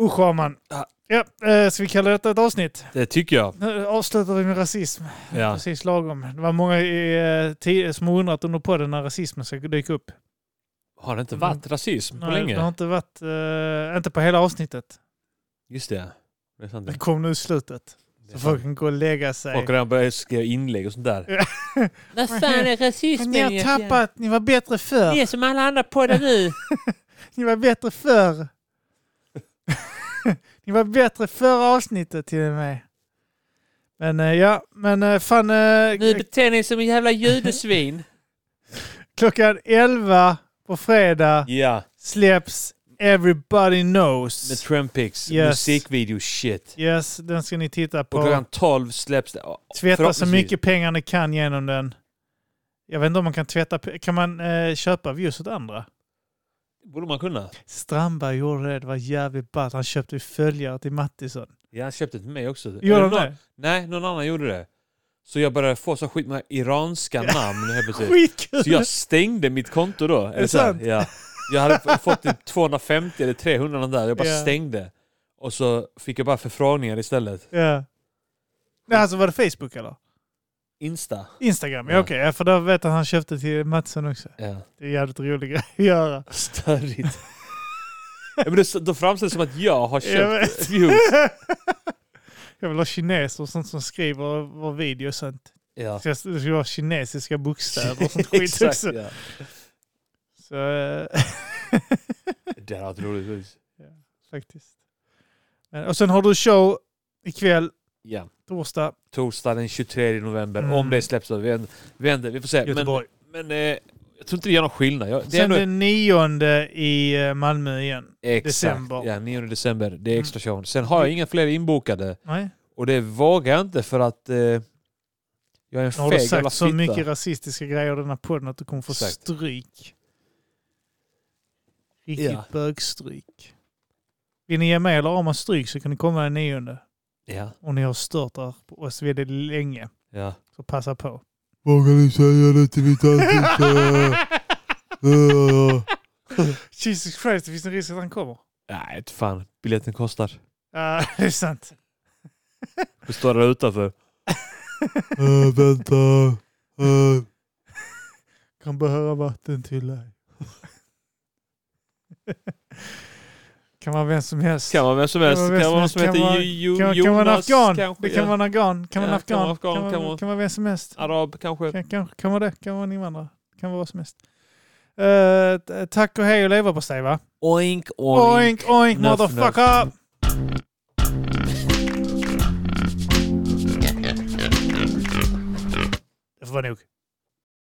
Usch, Arman. Ah. Ja, eh, ska vi kalla detta ett avsnitt? Det tycker jag. Nu avslutar vi med rasism. Ja. Precis lagom. Det var många i, eh, ti- som har undrat under podden när rasismen ska dyka upp. Har det inte varit rasism på Mm. Nej, Det har länge? inte varit, eh, inte på hela avsnittet. Just det. Det är sant. Det kom nu i slutet. Det är Så sant. folk kan gå och lägga sig. Folk har redan börjat skriva inlägg och sånt där. Vad fan är rasismen? Ni har egentligen? tappat, ni var bättre Ni förr. är som alla andra poddar nu. Ni var bättre förr. ni var bättre förra avsnittet till och med. Men eh, ja, men eh, fan eh, Nu beter ni er som en jävla judesvin. klockan 11 på fredag Ja, släpps Everybody med Knows. Trampix Yes. musikvideo-shit. Yes, den ska ni titta Och på. klockan 12 släpps det. Tvätta så förhoppningsvis. mycket pengar ni kan genom den. Jag vet inte om man kan tvätta... pe- Kan man eh, köpa views åt andra? borde man kunna. Strandberg gjorde det. Det var jävligt ballt. Han köpte ju följare till Mattisson. Ja, han köpte det till mig också. Gjorde Eller han någon- det? Nej, någon annan gjorde det. Så jag började få så skit med iranska namn helt plötsligt. Skitkul! Så jag stängde mitt konto då. Är det det så här? sant? Ja. Jag hade f- fått typ 250 eller 300 något där. Jag bara Ja. stängde. Och så fick jag bara förfrågningar istället. Ja. Nej, alltså var det Facebook eller? Insta. Instagram? Ja, Ja. okej. Ja, för då vet jag att han köpte till Mattisson också. Ja. Det är en jävligt rolig grej att göra. Störigt. ja, men det, då framställs det som att jag har Jag köpt vet. views. Jag vill ha kineser och sånt som skriver vår video och sånt. Ja. Så jag skulle ha kinesiska bokstäver och sånt skit också. ja. Så, eh, Det hade varit roligt. faktiskt. Men, och sen har du show ikväll, Ja. torsdag, Torsdag den 23 november. Mm. Om det släpps då. Vi vänd- vänder. Vi får se. Men, Göteborg. men eh, jag tror inte det gör någon skillnad. Jag, det är sen ändå den nionde i eh, Malmö igen. Exakt. december. Ja, 9 december. Det är Mm. extra show. Sen har jag inga fler inbokade. Nej, Och det vågar jag inte för att eh, jag är en nu feg har du jävla sagt så fitta. mycket rasistiska grejer i den här podden att du kommer få Exakt. stryk. Riktigt Ja. bögstryk. Vill ni ge mig eller Arman stryk så kan ni komma den nionde. Ja, Om ni har stört er på oss väldigt länge, ja. så passa på. Vågar ni säga det till min ansikte? Uh, Jesus Christ, det finns en risk att han kommer. Nej, inte fan. Biljetten kostar. Ja, det är sant. Det står där utanför. uh, vänta. Uh, Kan behöva vatten till dig. kan vara vem som helst. Kan man vem som helst. Ja, Kan vem som man någon som helst. Kan heter man- Jo- Kan, Jo- kan vara en Jonas afghan. kanske. det kan ja. vara en afghan. Kan vara en Ja, kan vara afghan. afghan, Kan kan vara- vara- kan vara vem som helst. Arab kanske. Kan, kan, kan vara det. Kan vara en invandrare. Kan vara vad som helst. Eh, t- tack och hej och leverpastej va? Oink, Oink, oink, Nuff, nuff. motherfucker! Det får vara nog.